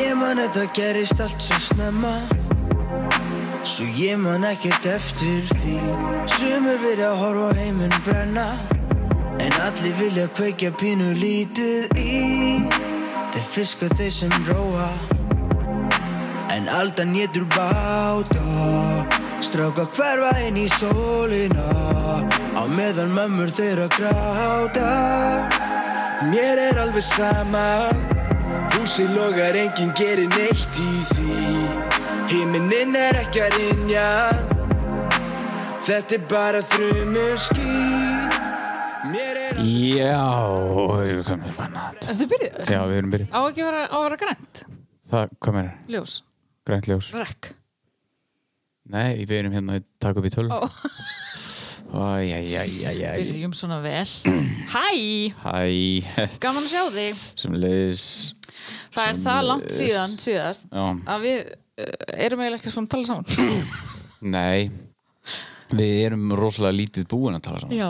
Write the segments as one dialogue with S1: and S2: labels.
S1: Ég man þetta gerist allt svo snemma Svo ég man ekkert eftir því Sumur verið að horfa á heiminn brenna En allir vilja kveikja pínu lítið í Þeir fiska þeir sem róa En aldan getur báta Stráka hverfa inn í sólina Á meðan mömmur þeirra gráta
S2: Mér er alveg sama Húsi logar, enginn gerir neitt í því Himinin er ekki að rinja Þetta er bara þrumur ský Mér er alveg
S3: Já, við komum í bannat
S4: Erstu byrjuður?
S3: Já, við erum byrjum
S4: Á ekki að vera, á að vera grænt?
S3: Það, hvað meira?
S4: Ljós?
S3: Grænt ljós
S4: Rekk?
S3: Nei, við erum hérna að taka upp í töl
S4: Ó.
S3: Æjæjæjæjæj
S4: Byrjum svona vel Hæ!
S3: Hæ,
S4: Gaman að sjá þig
S3: sem leiðis
S4: Það er það langt síðan síðast
S3: Já.
S4: að við uh, erum eiginlega ekki svona að tala saman
S3: Nei, við erum rosalega lítið búin að tala saman
S4: Já,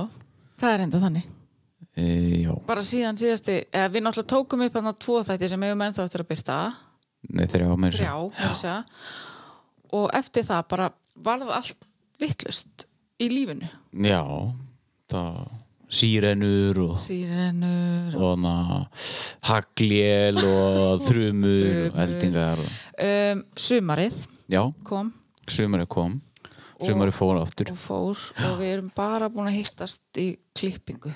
S4: það er enda þannig
S3: e, Já,
S4: Bara síðan síðasti, eða við náttúrulega tókum upp hann að tvo þætti sem eigum ennþá eftir að byrta
S3: nei þeir eru á mér
S4: þrjá, mér segja og eftir það bara varð allt vittlust í lífinu
S3: Já, það Sýrenur og
S4: Sýrenur
S3: og hana hagljél og þrumur og eldingar og,
S4: um, Sumarið
S3: já,
S4: kom
S3: sumari kom sumari fór aftur
S4: og fór og við erum bara búin að hittast í klippingu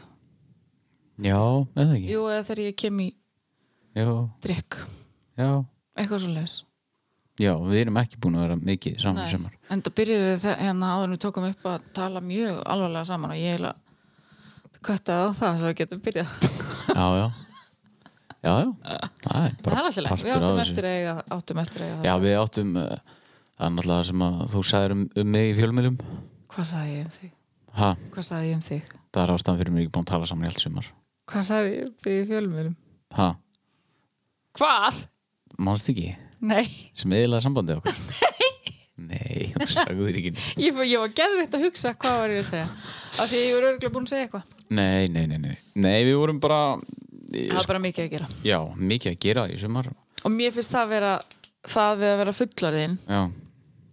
S3: já, eða ekki
S4: Jú, eða þegar ég kem í
S3: já,
S4: drikk
S3: já,
S4: eitthvað svo leis
S3: já, við erum ekki búin að vera mikið saman í sumar
S4: en það byrjuðu við það, hérna áður en við tókum upp að tala mjög alvarlega saman og ég eiginlega köttaði á það svo við getum byrjað
S3: já, já, já, já það er
S4: það
S3: bara
S4: er alltaf leik,
S3: partur af
S4: við áttum
S3: þessu
S4: eftir að eiga áttum eftir að eiga
S3: já,
S4: það.
S3: við áttum eh, það er náttúrulega sem að þú sagðir um, um mig í fjölmjölum
S4: hvað sagði ég um þig?
S3: ha,
S4: hvað sagði ég um þig?
S3: það er ástæðan fyrir mig ekki búin að tala saman í allt sumar
S4: hvað sagði ég um þig í fjölmjölum?
S3: ha,
S4: hvað?
S3: mannst ekki
S4: nei,
S3: sem eðlaði sambandið okkar nei, þú sagður ekki neitt
S4: ég, fór- ég var geðvitt að hugsa hvað var ég að segja af því að ég var örgulega búin að segja eitthvað
S3: Nei, nei, nei, nei. Nei, við vorum bara,
S4: það var bara mikið að gera
S3: já, mikið að gera í sumar.
S4: og mér finnst það vera það við að vera fullarðin
S3: Já,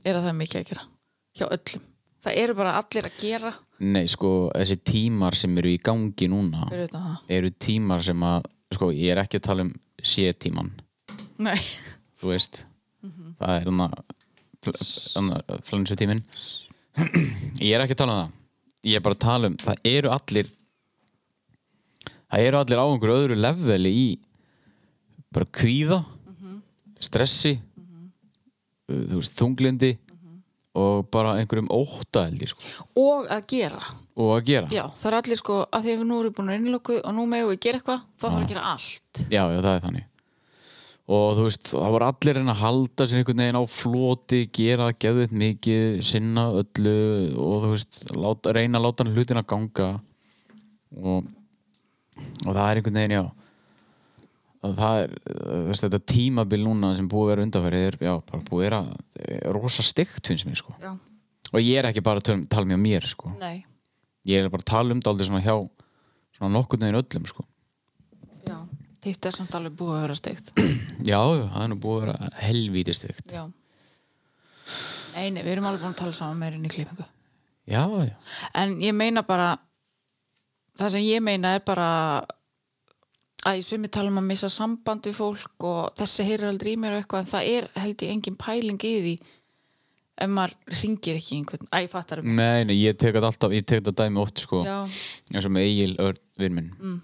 S4: er að það er mikið að gera hjá öllum það eru bara allir að gera
S3: nei, sko, þessi tímar sem eru í gangi núna
S4: fyrir utan um það
S3: eru tímar sem að, sko, ég er ekki að tala um sétíman,
S4: Nei,
S3: þú veist. Það er hana, hana flansu tímin. ég er ekki að tala um það. Ég er bara að tala um, það eru allir, það eru allir á einhverju öðru leveli í bara kvíða, stressi, uh, þú veist, þunglindi og bara einhverjum ótta held ég sko,
S4: og að gera
S3: og að gera.
S4: Já, það er allir sko, að því að við nú erum búin að innlöku og nú megum við gera eitthvað, þá þarf að gera allt
S3: já, já, það er þannig. Og þú veist, það voru allir að reyna að halda sér einhvern veginn á floti, gera geðvitt mikið, sinna öllu og þú veist, láta, reyna að láta hlutin að ganga og, og það er einhvern veginn, já, að það er, þú veist, þetta tímabil núna sem búið að vera undanfærið er, já, bara búið að vera eh, rosa stygt finnst mér, sko.
S4: Já,
S3: og ég er ekki bara að tala, um- tala mjög mér sko.
S4: nei,
S3: ég er bara að tala um það aldrei svona hjá svona nokkurn veginn öllum sko.
S4: já Þýtt er samt alveg búið að vera steikt
S3: já, já, það er nú búið að vera helvítið stygt
S4: Já Nei, nei, við erum alveg búin að tala saman meirinn í klippingu
S3: já, já,
S4: En ég meina bara það sem ég meina er bara að í sumi tala um að missa samband við fólk og þessi heyrir aldrei í mér og eitthvað en það er held ég engin pæling í því ef maður ringir ekki í einhvern Æ, fattar um
S3: nei, nei, ég tek þetta alltaf ég tek þetta dæmi oft sko.
S4: Já,
S3: eins og með Egil Örn vinn minn mm.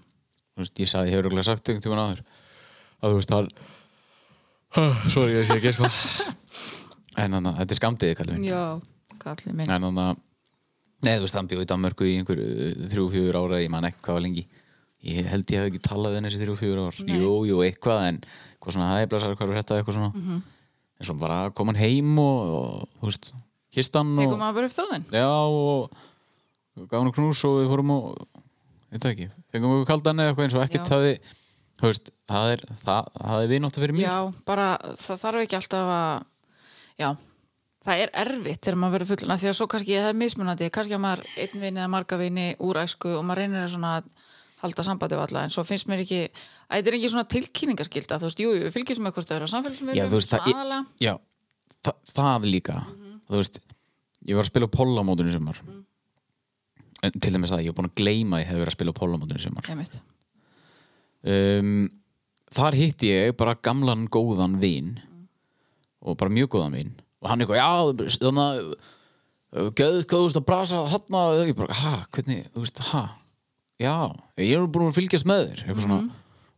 S3: veist, ég sagði, ég hefur okkur sagt einhvern tímann áður að þú veist hann sorry, ég sé ekki sko. en þannig, þetta er skamdið kallum minn
S4: já, kallið minn
S3: en þannig að Nei, þú veist, hann bjóði í Danmörku í einhver þrjú, fjúur ára, ég man ekki hvað var lengi Ég held ég hef ekki talað við henni þessi þrjú, fjúur ár Jú, jú, eitthvað, en hvað svona hæði blæsar, hvað er þetta, eitthvað svona
S4: Mhm.
S3: En svo bara kom hann heim og, og þú veist, kist hann og
S4: Tekum maður bara upp þráðinn
S3: Já, og og gaf hann knús og við fórum og Ég veit það ekki, fengum okkur kaldan eða eitthvað eins og ekkert
S4: Já.
S3: hafi Þú veist, það er, það, það er vináttu fyrir mér
S4: Já, bara það þarf ekki alltaf að Já, það er erfitt þegar maður verður fullna því að svo kannski það er mismunandi kannski að maður einn vini eða marga vini úr æsku og maður reynir að svona að halda sambandi við alla en svo finnst mér ekki að þetta er ekki svona tilkynningaskylda þú veist, jú, jú, við fylgjum með hvort það eru á
S3: já,
S4: samfélagsmiðlum
S3: þú veist,
S4: svona
S3: það,
S4: aðalega.
S3: já, það, það líka þú veist, ég var að spila á pólamótunum sem var en, til dæmis það, ég var búin að gleyma að ég hef verið að spila á pólamótunum sem var
S4: Einmitt.
S3: um, þar hitti ég bara gamlan góðan vin og bara mjög góðan vin og hann eitthvað, já, uh, þannig að gæðið góðust að brasa hann að, ég bara, ha, hvernig, þú veist, ha já, ég er búin að fylgjast með þér eitthvað svona,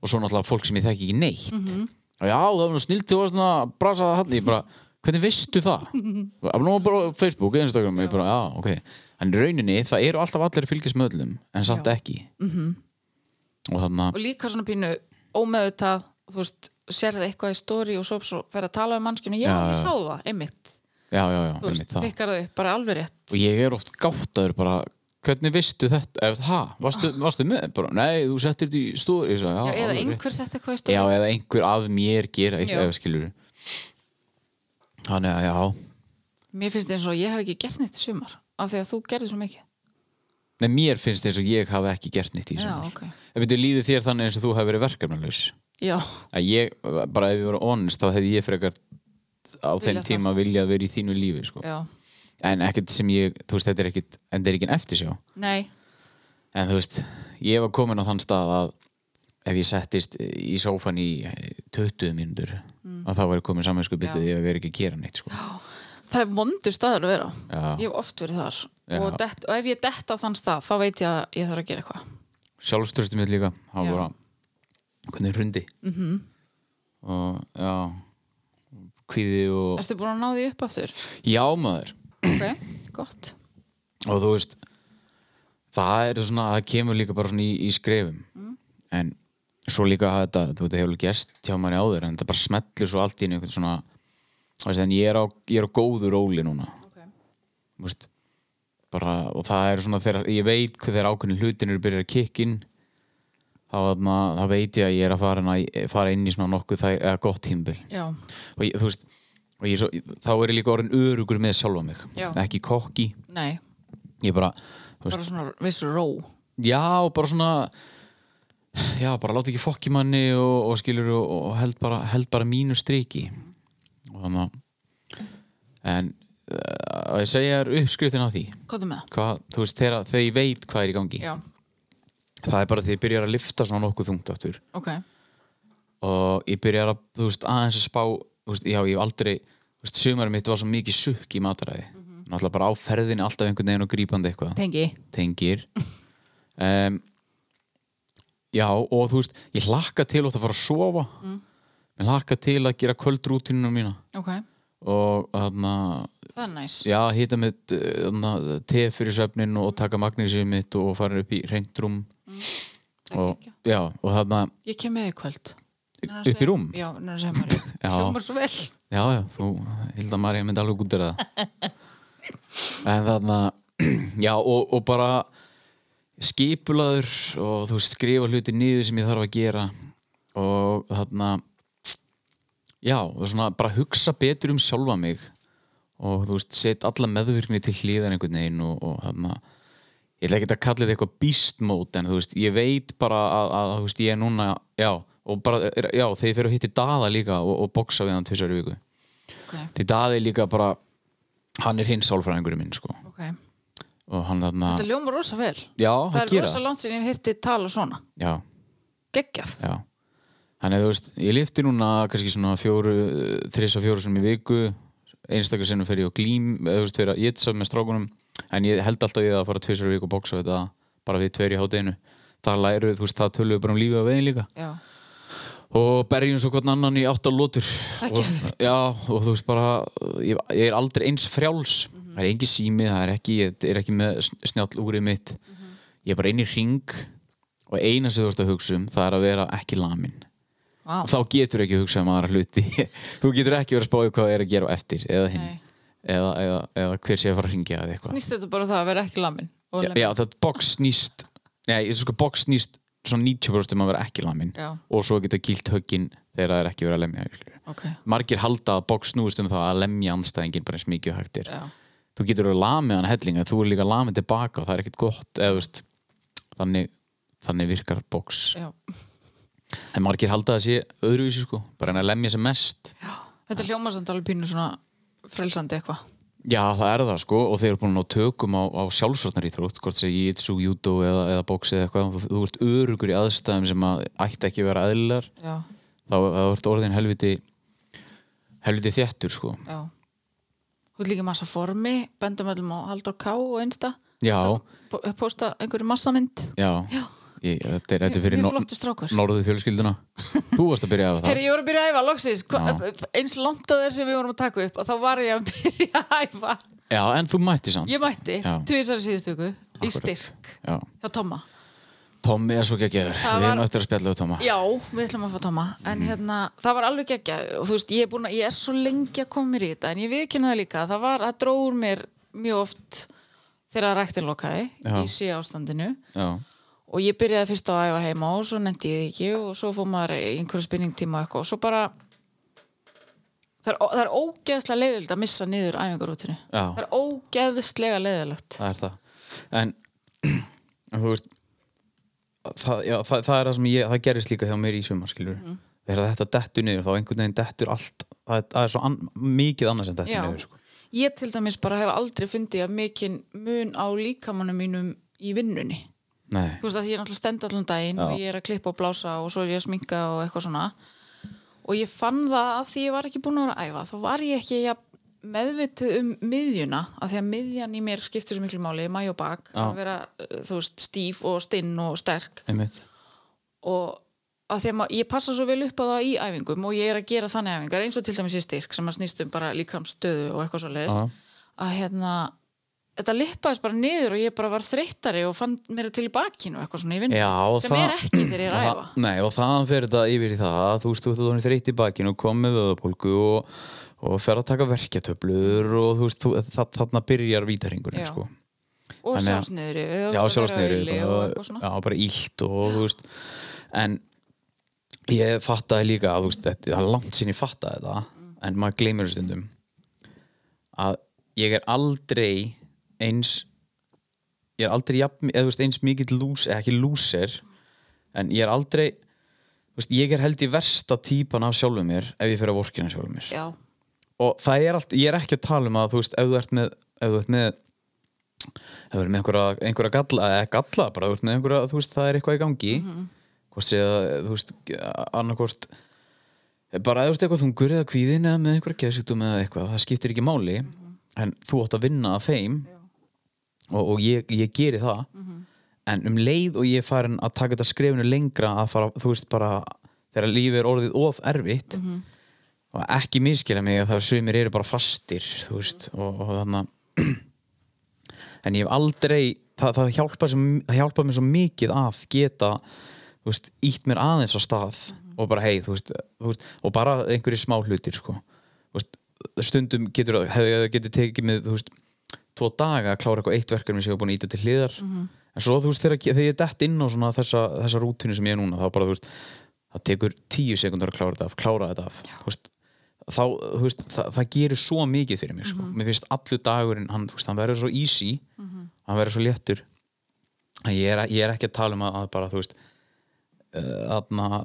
S3: og svo náttúrulega fólk sem ég þekki ekki neitt og já, það var nú snilt þú var svona að brasa hann, ég bara hvernig veistu það? Það var nú bara á Facebook, Instagram, ég bara, já, ok en í rauninni, það eru alltaf allir að fylgjast með öllum en samt ekki -hmm. og þannig að
S4: og líka svona pínu ómeðutað þú veist, sérði eitthvað í stóri og svo, svo fer að tala um mannskjunni, já,
S3: Já, já.
S4: ég sá það, einmitt
S3: já, já, já,
S4: þú
S3: einmitt
S4: veist,
S3: það
S4: pikkar þau upp, bara alveg rétt
S3: og ég er oft gáttaður bara hvernig veistu þetta, eða ha, varstu, varstu með bara, nei, þú settir þetta í stóri já,
S4: já, eða
S3: alveg rétt.
S4: einhver sett eitthvað í
S3: já,
S4: stóri
S3: eða einhver af mér gera
S4: Já.
S3: eitthvað, eða skilur þannig að já
S4: mér finnst eins og ég hef ekki gert neitt í sumar af því að þú gerði svo mikið
S3: nei, mér finnst eins og ég hafi ekki gert nýtt í
S4: já,
S3: sumar
S4: ok,
S3: ef þú líði þér þannig eins og þú hafi verið verkefnalaus
S4: já,
S3: að ég, bara ef ég var honest þá hefði ég frekar á þeim
S4: Viljað það.
S3: tíma viljað vera í þínu lífi sko.
S4: já
S3: en ekkert sem ég, þú veist, þetta er ekkert en þetta er ekki en eftirsjá
S4: nei,
S3: en þú veist, ég var komin á þann stað að ef ég settist í sófan í eh, 20 mínútur að þá var ég komin samvegsko bitið ég verið ekki að gera neitt sko.
S4: það er vondur staður að vera á.
S3: Já.
S4: ég hef oft verið þar
S3: Já.
S4: og, dett, og ef ég detta þann stað, þá veit ég að ég þarf að gera eitthvað
S3: sjálfströstum mitt líka það
S4: Já.
S3: var bara, hvernig hrundi mm -hmm. og já kvíði og
S4: ertu búin að ná því upp aftur?
S3: já maður
S4: ok, gott
S3: og þú veist það er svona, það kemur líka bara svona í, í skrefum en svo líka að þetta, þú veit, það hefur gest hjá manni áður en þetta bara smetlur svo allt í einu einhvern svona, þú veist, en ég er á, ég er á góðu róli núna
S4: Ok.
S3: þú veist, bara, og það er svona þegar, ég veit hvað þegar ákveðin hlutin eru byrjað að kikkin þá, þarna, þá veit ég að ég er að fara, að, fara inn í svona nokkuð það, eða gott tímbil
S4: já,
S3: og ég, þú veist og ég svo, þá er ég líka orðin örugur með sjálfa mig
S4: Já.
S3: ekki kokki,
S4: nei,
S3: ég bara þú veist,
S4: bara svona vissur ró
S3: Já, bara svona Já, bara láta ekki fokk í manni og, og skilur og, og held bara, held bara mínu striki og þannig að en uh, ég segja þér uppskriftin á því
S4: hvað er með það?
S3: hvað, þú veist, þegar, þegar ég veit hvað er í gangi
S4: já,
S3: það er bara því ég byrjar að lifta svona nokkuð þungt aftur
S4: ok,
S3: og ég byrjar að, þú veist, aðeins að spá þú veist, já, ég hef aldrei, þú veist, sumarið mitt var svo mikið sukk í mataræði náttúrulega bara á ferðinni alltaf einhvern veginn og grípandi eitthvað
S4: tengi
S3: tengir um, já og þú veist ég hlakka til að fara að sofa mm. ég hlakka til að gera kvöldrútinu mína
S4: ok,
S3: og þarna
S4: það er næs
S3: já hita mitt eh, þarna, te fyrir svefnin og taka magnísið mitt og fara upp í reyndrúm
S4: Það er
S3: og,
S4: geggjað.
S3: já, og þarna
S4: ég kem með í kvöld
S3: Upp í rúm?
S4: já, nú sem maður
S3: Já.
S4: hljómar svo vel
S3: Já, já, þú, Hilda Marja myndi alveg út er það En þarna Já, og, og bara skipulaður og þú veist, skrifa hluti niður sem ég þarf að gera og þarna Já, og svona bara hugsa betur um sjálfa mig og þú veist, set alla meðvirkni til hlýðan einhvern veginn og, og þarna ég ætla ekki að kalla þetta eitthvað beast mode en þú veist, ég veit bara að, að, að þú veist, ég er núna, já og bara, er- já, þegar ég fer og hitti Dada líka og, og boksa við hann tvisar í viku
S4: ok,
S3: því Daði er líka bara hann er hinn sálfræðingurinn minn sko
S4: ok,
S3: og hann þarna,
S4: það hljómar rosa vel
S3: já,
S4: það
S3: það
S4: er
S3: gera
S4: rosa
S3: það.
S4: langt sem ég hef hirti tala svona
S3: já,
S4: geggjað,
S3: já þannig að þú veist, ég lifti núna kannski svona fjóru, þriss og fjóru sem í viku einstakar sinnum fer ég og glím eða þú veist, fyrir að ég sá með strákunum en ég held alltaf ég að fara tvisar í viku og boksa við þetta bara við tveir í hátinu það læru, þú veist, það tölum við bara um lífið og veginn líka
S4: já,
S3: og berjum svo hvern annan í átt á lótur
S4: er
S3: og, já, og þú veist bara ég, ég er aldrei eins frjáls
S4: Mhm.
S3: það er engin sími, það er ekki ég er ekki með sn- snjall úrið mitt
S4: Mhm.
S3: ég er bara inn í ring og eina sem þú ert að hugsa um, það er að vera ekki lamin
S4: vá
S3: og þá getur ekki að hugsa um aðra hluti þú getur ekki verið að spáði hvað er að gera á eftir eða hinn,
S4: Nei.
S3: eða, eða, eða hver sé að fara að ringja eða eitthvað
S4: snýst þetta bara um það að vera ekki lamin og
S3: já, já, það box snýst nei, ég sko box snýst svona 90% um að vera ekki lamin
S4: Já.
S3: og svo geta kýlt höggin þegar það er ekki verið að lemja skilurðu.
S4: ok,
S3: margir halda að bók snúist um það að lemja anstæðingin bara eins mikið og hægt er
S4: já,
S3: þú getur verið lamið hann helling en þú er líka lamið tilbaka og það er ekkert gott eða, þú veist, þannig, þannig virkar bóks
S4: já.
S3: en margir halda að sé öðruvísi sko bara en að lemja sem mest
S4: Þetta hljómar samt alveg pínu svona frelsandi eitthvað.
S3: já það er það sko og þeir eru búin að ná tökum á, á sjálfsvarnar íþrótt hvort sem jitsu, judo eða, eða bóks eða eitthvað þú, þú ert örugur í aðstæðum sem að ætti ekki að vera aðlilar
S4: Já,
S3: þá þá ert orðin helviti helviti þéttur sko
S4: já. Þú er líka í massa formi, bendum öllum á Haldur K og einsta,
S3: já,
S4: Po- posta einhverju massamynd.
S3: já,
S4: Já.
S3: Ég, þetta er, þetta er fyrir
S4: Mjög
S3: no-
S4: flottur strákur.
S3: norðu fjölskylduna þú varst að byrja af það
S4: Herri, ég voru að byrja að æfa, loksins,
S3: Já.
S4: Hva- eins langt á þér sem við vorum að taka upp og þá var ég að byrja að æfa.
S3: Já, en þú mætti samt
S4: Ég mætti,
S3: Já.
S4: tvisar í síðustöku, í
S3: Akkurat.
S4: styrk,
S3: Já.
S4: hjá Tomma.
S3: Tommi er svo geggjör
S4: Það
S3: Við erum
S4: var-
S3: eftir að spjalla við Tomma
S4: Já, við ætlum að fá Tomma, en
S3: Mm.
S4: hérna, það var alveg geggja og þú veist, ég er, búin að, ég er svo lengi að koma mér í þetta, en ég viðkynna það líka, það var að dróður mér mjög oft þegar ræktin lokaði
S3: Já.
S4: í síða ástandinu
S3: Já,
S4: og ég byrjaði fyrst á að æfa heima og svo nefndi ég því ekki og svo fór maður í einhverju spinningtíma og eitthvað og svo bara það er, það er ógeðslega leiðilegt að missa niður æfingarútinu
S3: Já.
S4: það er ógeðslega leiðilegt
S3: það er það En, en þú veist það, já, það, það er það sem ég Það gerist líka hjá mér í sumar, skilur mm. Þegar þetta dettur niður, þá einhvern veginn dettur allt Það, er- það er svo an, mikið annars en dettur
S4: Já.
S3: niður sko.
S4: ég til dæmis bara hef aldrei fundið að mikinn mun á líkamannum mínum í vinnunni
S3: Nei,
S4: þú veist að ég er náttúrulega stend allan daginn
S3: Já.
S4: og ég er að klippa og blása og svo er ég að sminka og eitthvað svona og ég fann það að því ég var ekki búin að vera að æfa þá var ég ekki ja, meðvituð um miðjuna að því að miðjan í mér skiptir svo miklu máli, mæ og bak
S3: Já.
S4: að vera eh, þú veist, stíf og stinn og sterk
S3: einmitt
S4: og að því að ma- ég passa svo vel upp á það í æfingum og ég er að gera þannig æfingar eins og til dæmis í styrk sem að snýstum bara líkamstöðu og eitthvað svo leiðis
S3: Já.
S4: að hérna þetta lippaðist bara niður og ég bara var þreyttari og fann mér til í bakinu og eitthvað svona í vinnu
S3: Já, og
S4: sem
S3: það-
S4: er ekki þegar ég er að
S3: það-
S4: æfa
S3: Nei, og þaðan fer þetta yfir í það að þú veist, þú ert að þóna þreytt í bakinu og kom með vöðapólku og, og fer að taka verkjatöflur og þú veist, þú, það, þarna byrjar vítaringurinn
S4: Já.
S3: sko.
S4: og
S3: Þannig að-
S4: sjálfsniðri
S3: Já, sjálfsniður
S4: og eitthvað svona
S3: Já, bara ílt og þú veist En ég fattaði líka að þú veist, þetta, það er langt sinni fattaði þetta en maður gleymur þessu stundum að ég er aldrei eins ég er aldrei jafn, eða, þú veist, eins mikill lús, eða ekki lúser en ég er aldrei þú veist, ég er held í versta típan af sjálfum mér ef ég fer að vorkina sjálfum mér
S4: já,
S3: og það er allt, ég er ekki að tala um að þú veist, ef þú ert með ef þú ert með ef þú ert með einhverja, einhverja galla eða galla bara, þú ert með einhverja, þú veist, það er eitthvað í gangi hvort sé að, þú veist annarkvort bara ef þú ert eitthvað þungur eða kvíðin eða með einhverja geðsjúktum eða eitthvað, það skiptir ekki máli en þú átt að vinna að þeim og, og ég, ég geri það en um leið og ég er farin að taka þetta skrefinu lengra að fara, þú veist, bara þegar lífið er orðið of erfitt og ekki miskila mig að það er sumir eru bara fastir þú veist og, og þannig en ég hef aldrei það, það hjálpa, sem, það hjálpa mér svo mikið að geta þú veist, ítt mér aðeins á stað og bara hei, þú veist, þú veist og bara einhverju smá hlutir sko. Þú veist, stundum getur hefði það getið tekið með þú veist, tvo daga að klára eitthvað eitt verkefni sem ég hef búin að íta til hliðar en svo þú veist þegar, þegar ég dett inn á svona þessa, þessa rútinu sem ég er núna þá bara þú veist það tekur tíu sekundar að klára þetta af klára þetta af þú veist, þá, þú veist, það, það gerir svo mikið fyrir mér sko. mér finnst allur dagurinn hann, þú veist, hann verður svo easy hann verður svo léttur að ég er, ég er ekki að tala um að, að bara þú veist aðna,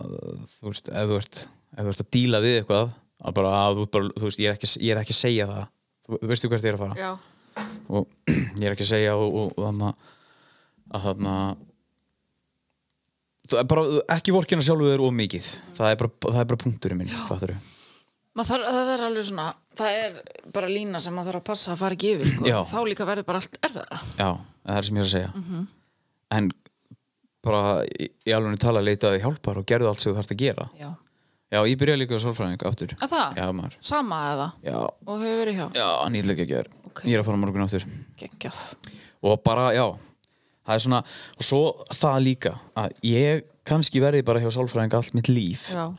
S3: þú veist, ef þú ert ef þú ert að díla við eitthvað að bara, að þú, bara, þú veist, ég er ekki, ég er ekki að segja það þú þú veistu hvert ég er að fara
S4: já,
S3: og ég er ekki að segja og, og, og þannig að þannig að þú er bara, ekki vorkina sjálfu er of mikið það er bara, það er bara punkturinn minn fattarðu?
S4: Maður þarf, það er alveg svona það er bara lína sem maður þarf að passa að fara ekki yfir sko.
S3: Já.
S4: þá líka verður bara allt erfiðara
S3: Já, það er sem ég er að segja
S4: Mhm.
S3: En bara í í alveg tala leitaði hjálpar og gerðu allt sem þú þarft að gera
S4: já,
S3: Já, ég byrjaði líka á sálfræðing aftur
S4: að það,
S3: Já, maður
S4: sama eða
S3: Já,
S4: og hefur verið hjá,
S3: já nýðlega ekki að gera
S4: Ok.
S3: Ég er að fara á morgun aftur
S4: geggjað
S3: Og bara, já, það er svona Og svo það líka að ég kannski verði bara hjá sálfræðing allt mitt líf
S4: já,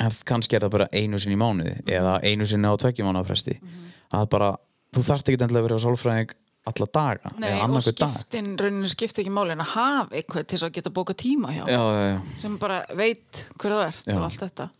S3: en kannski er það bara einu sinni í mánuði
S4: Mhm.
S3: eða einu sinni á tveggjum mánuða fresti að bara, þú þarft ekki endilega að vera á sálfræðing alla daga
S4: Nei,
S3: eða
S4: og
S3: annað hver dag
S4: skiptin, rauninu skipti ekki máli en að hafa eitthvað til þess að geta bóka tíma hjá
S3: Já, já, já
S4: sem bara veit hver það ert
S3: Já.
S4: og allt þetta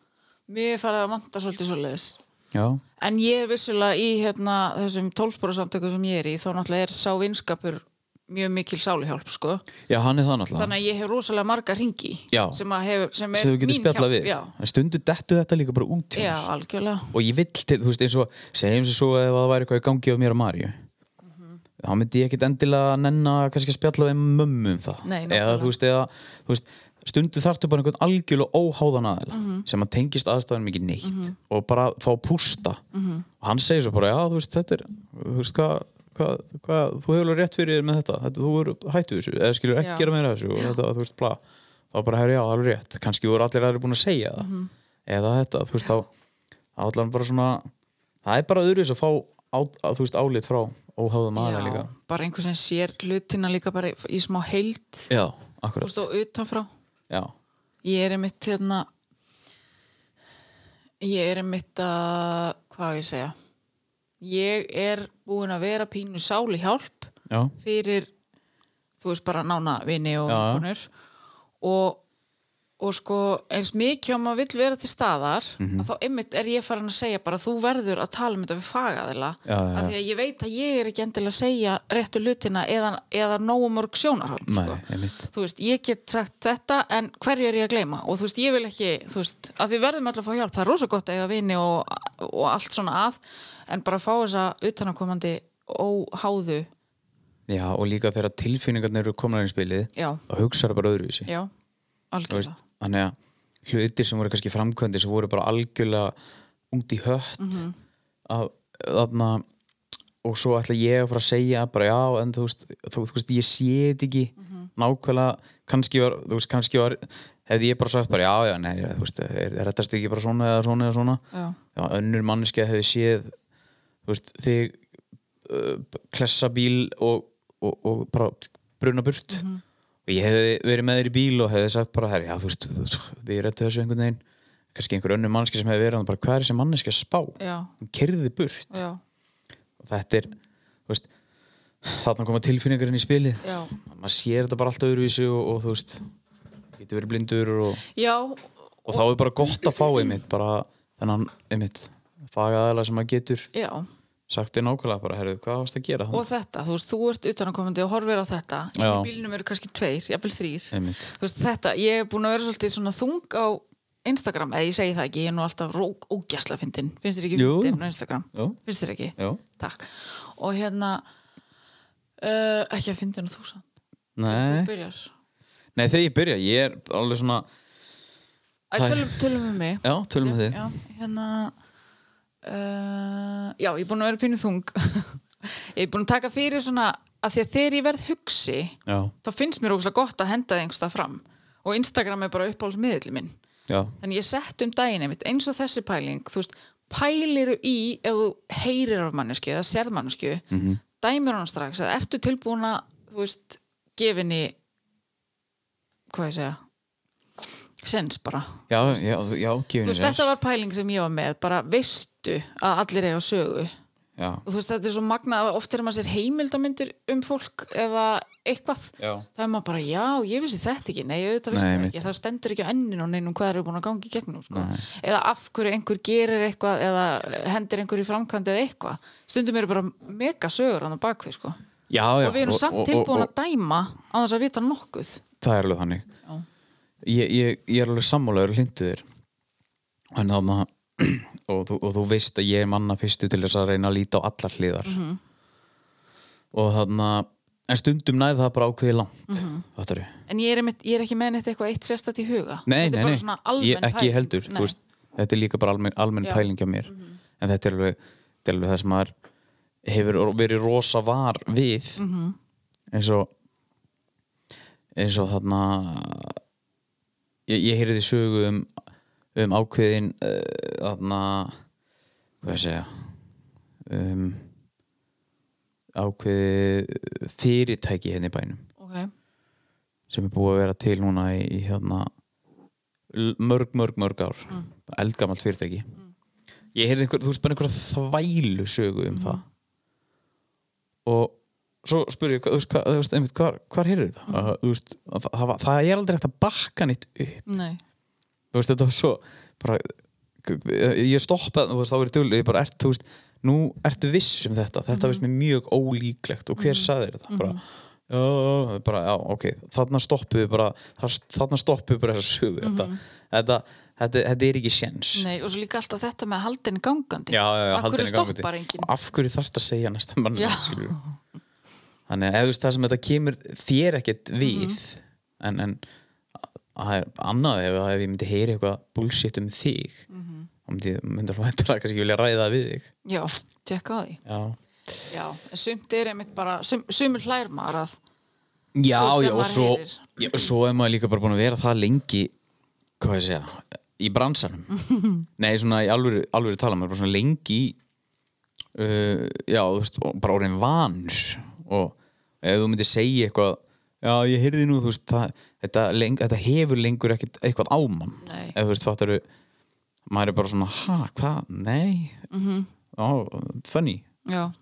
S4: Mér er farið að vanta svolítið svoleiðis.
S3: já,
S4: En ég er vissulega í hérna, þessum tólsporasamtöku sem ég er í, þá náttúrulega er sá vinskapur mjög mikil sáluhjálp, sko.
S3: já, hann er það náttúrulega
S4: Þannig að ég hef rosalega marga ringi
S3: Já.
S4: sem, að hefur, sem er
S3: sem þú getur spjallað við
S4: Já,
S3: en stundu dettu þetta líka bara út hjá
S4: já
S3: mér.
S4: algjörlega.
S3: og ég vill til, þú veist, eins og segjum sem svo ef það væri eitthvað í gangi af mér og Marju þá myndi ég ekkit endilega nenna kannski að spjalla við mömmu um það
S4: Nei,
S3: eða,
S4: nákvæmlega.
S3: þú veist, eða, þú veist stundu þarftu bara einhvern algjörlega óháðan aðeila
S4: Mhm.
S3: sem að tengist aðstæðanum ekki neitt og bara fá að pústa
S4: Mhm.
S3: og hann segir svo bara, já, þú veist, þetta er þú veist, hvað Hva, hva, þú hefur alveg rétt fyrir þér með þetta, þetta þú er hættu þessu, eða skilur ekki
S4: Já.
S3: gera meira af þessu og þetta, þú veist, bla, þá bara herri já, það er alveg rétt kannski voru allir aðri búin að segja það
S4: Mhm.
S3: eða þetta, þú veist, þá þá allan bara svona, það er bara öðruvis að fá, á, að, þú veist, álit frá óháðum aðra
S4: Já,
S3: líka
S4: bara einhver sem sér hlutina líka bara í- í smá heild
S3: já,
S4: og
S3: akkurat,
S4: stóð utanfrá.
S3: já,
S4: Ég er einmitt hérna ég er einmitt að hvað á ég að segja ég er búin að vera pínu sáli hjálp
S3: já,
S4: fyrir þú veist bara nána vini og
S3: Já, já.
S4: konur og, og sko eins mikið om maður vill vera til staðar
S3: Mhm.
S4: að þá einmitt er ég farin að segja bara þú verður að tala um þetta við fagaðila
S3: Já, já,
S4: af því að ég veit að ég er ekki endilega að segja réttu lutina eða, eða nógu mörg sjónarhald
S3: nei,
S4: sko
S3: einmitt
S4: þú veist, ég get sagt þetta en hverju er ég að gleyma og þú veist, ég vil ekki, þú veist, að við verðum alltaf að fá hjálp, það er rosa gott að eiga vini og, og allt svona að, en bara fá þessa utanakomandi óháðu
S3: já, og líka þegar tilfinningarnir eru komnar inn í spilið
S4: já,
S3: þá hugsaðu bara öðruvísi
S4: já,
S3: Þú
S4: algjörða
S3: veist, þannig að hlutir sem voru kannski framkvæmdi sem voru bara algjörlega ungt í hött mm -hmm. að, þarna og svo ætla ég að fara að segja bara já, en þú veist, þú, þú veist ég sé þetta ekki nákvæmlega kannski var, þú veist, kannski var hefði ég bara sagt bara já, já, nei, þú veist er, er þetta ekki bara svona eða svona eða svona
S4: já,
S3: já, önnur manneski hefði séð þú veist, þig uh, klessa bíl og, og, og bara bruna burt og ég hefði verið með þér í bíl og hefði sagt bara, herri, já, þú veist, þú veist við rettu þessu einhvern veginn kannski einhver önnur manneski sem hefði verið þarna, bara, hvað er þessi manneski að spá
S4: já,
S3: hún kerði burt
S4: já,
S3: og þetta er, þú veist þarna koma tilfinningarinn í spilið
S4: Já.
S3: maður sér þetta bara allt öðruvísi og, og þú veist, getur verið blindur og
S4: já
S3: og þá er bara gott að fá einmitt bara þennan einmitt fagaðala sem að getur
S4: Já,
S3: sagt þér nákvæmlega bara, herru, hvað varst að gera
S4: og þetta, þú veist, þú ert utanakomandi og horfir á þetta, í
S3: Já.
S4: bílnum eru kannski tveir, jafnvel þrýr,
S3: Einmitt.
S4: þú veist, þetta, ég er búin að vera svolítið svona þung á Instagram, eða ég segi það ekki, ég er nú alltaf rók ógæsla fyndin, finnst þér ekki
S3: Jú.
S4: fyndin á Instagram,
S3: Jú.
S4: finnst þér ekki?
S3: Já,
S4: Takk. Og hérna, uh, ekki að fyndin og þú sann, þú
S3: nei,
S4: byrjar.
S3: nei þegar ég byrja ég er alveg svona,
S4: Æ,
S3: Hæ.
S4: tölum, tölum um mig.
S3: já, tölum við þig
S4: Já, hérna, uh, já, ég er búin að vera pínu þung. ég er búin að taka fyrir svona, að því að þegar ég verð hugsi,
S3: Já,
S4: þá finnst mér ógustlega gott að henda það einhverstað fram og Instagram er bara uppáhaldsmiðli minn
S3: já,
S4: þannig ég sett um daginn einmitt eins og þessi pæling þú veist, pæliru í ef þú heyrir af mannesku eða sérð mannesku mm -hmm. dæmir hann strax eða ertu tilbúin að þú veist, gefinni hvað ég segja sens bara
S3: já, já, já,
S4: þú
S3: gefinu
S4: veist, þetta var pæling sem ég var með bara veistu að allir eiga sögu
S3: Já,
S4: og þú veist þetta er svo magnað að oft er maður sér heimildamindir um fólk eða eitthvað
S3: Já.
S4: það er maður bara já, ég vissi þetta ekki nei, auðvitað vissi
S3: Nei,
S4: þetta
S3: einmitt.
S4: ekki, það stendur ekki á enninu og neinum hvað eru búin að gangi í gegnum sko. eða af hverju einhver gerir eitthvað eða hendir einhver í framkvæmd eða eitthvað stundum eru bara mega sögur hann á bakvið sko.
S3: já, já
S4: og við erum samt tilbúin
S3: og-
S4: að dæma á þess að vita nokkuð
S3: það er alveg þannig ég, ég, ég er alveg sammálaður hlindu þér en þannig að og, þú- og þú veist að ég er manna fyrstu til þess að reyna að líta á allar hliðar og þannig að en stundum nær það bara ákveði langt mm -hmm. þetta er
S4: en ég er, einmitt, ég er ekki með neitt eitthvað eitt sérstætt í huga
S3: nei, nei,
S4: þetta er bara
S3: nei,
S4: svona
S3: ég,
S4: almenn
S3: ekki
S4: pæling.
S3: heldur þú
S4: Nei.
S3: veist, þetta er líka bara almenn, almenn
S4: Já. Mhm.
S3: pæling hjá mér en þetta er alveg, þetta er alveg það sem maður hefur verið rosa var við -hmm.
S4: Mhm.
S3: eins og eins og þarna ég, ég heyrði sögu um, um ákveðin uh, þarna hvað ég segja um, ákveði fyrirtæki hérna í bænum
S4: Ok.
S3: sem er búið að vera til núna í, í hérna l- mörg, mörg, mörg ár mm. eldgamalt fyrirtæki ég heyrði einhver, þú veist bara einhverja þvælu sögu um það og svo spyr ég hva- þú veist, hva, þú veist, einmitt, hvar, hvar heyrðu þetta mm. þú veist, að það, það, var- það er aldrei hægt að bakka nýtt upp
S4: Nei.
S3: þú veist, þetta var svo bara ég stoppaði, þú veist, þá er ég dölu ég bara, ert, þú veist, nú ertu viss um þetta þetta veist mér mjög ólíklegt og hver mm -hmm. saði þetta, bara Já, já, já, bara, já, ok, þarna stoppuðu bara þar- þarna stoppuðu bara þessa sögu þetta, þetta, þetta, þetta er ekki séns
S4: Nei, og svo líka alltaf þetta með að halda henni gangandi
S3: já, já, já, halda henni
S4: Akkur
S3: gangandi.
S4: stoppar enginn
S3: Og af hverju þarf þetta að segja næsta mann
S4: Já.
S3: þannig að ef þú veist það sem þetta kemur þér ekkert við
S4: Mhm.
S3: en, en það er annað ef, ef ég myndi heyri eitthvað bullshit um þig
S4: Mhm.
S3: þá myndi, myndi alveg hættur að kannski vilja ræða það við þig
S4: Já, tjekka á því
S3: já,
S4: Já, en sumt er einmitt bara sum, Sumur hlær maður að
S3: já,
S4: Þú veist,
S3: já
S4: ef
S3: og
S4: maður
S3: svo,
S4: heyrir.
S3: já, og svo er maður líka bara búin að vera það lengi hvað ég segja, í bransanum nei, svona í alvöru, alvöru tala maður er bara svona lengi í uh, já, þú veist, og bara orðin vanur og ef þú myndir segja eitthvað já, ég heyrði nú, þú veist það, þetta, leng, þetta hefur lengur ekkit eitthvað ámann,
S4: Nei.
S3: ef þú veist, fattar maður er bara svona, ha, hvað, nei mm -hmm.
S4: Mhm.
S3: funny
S4: Já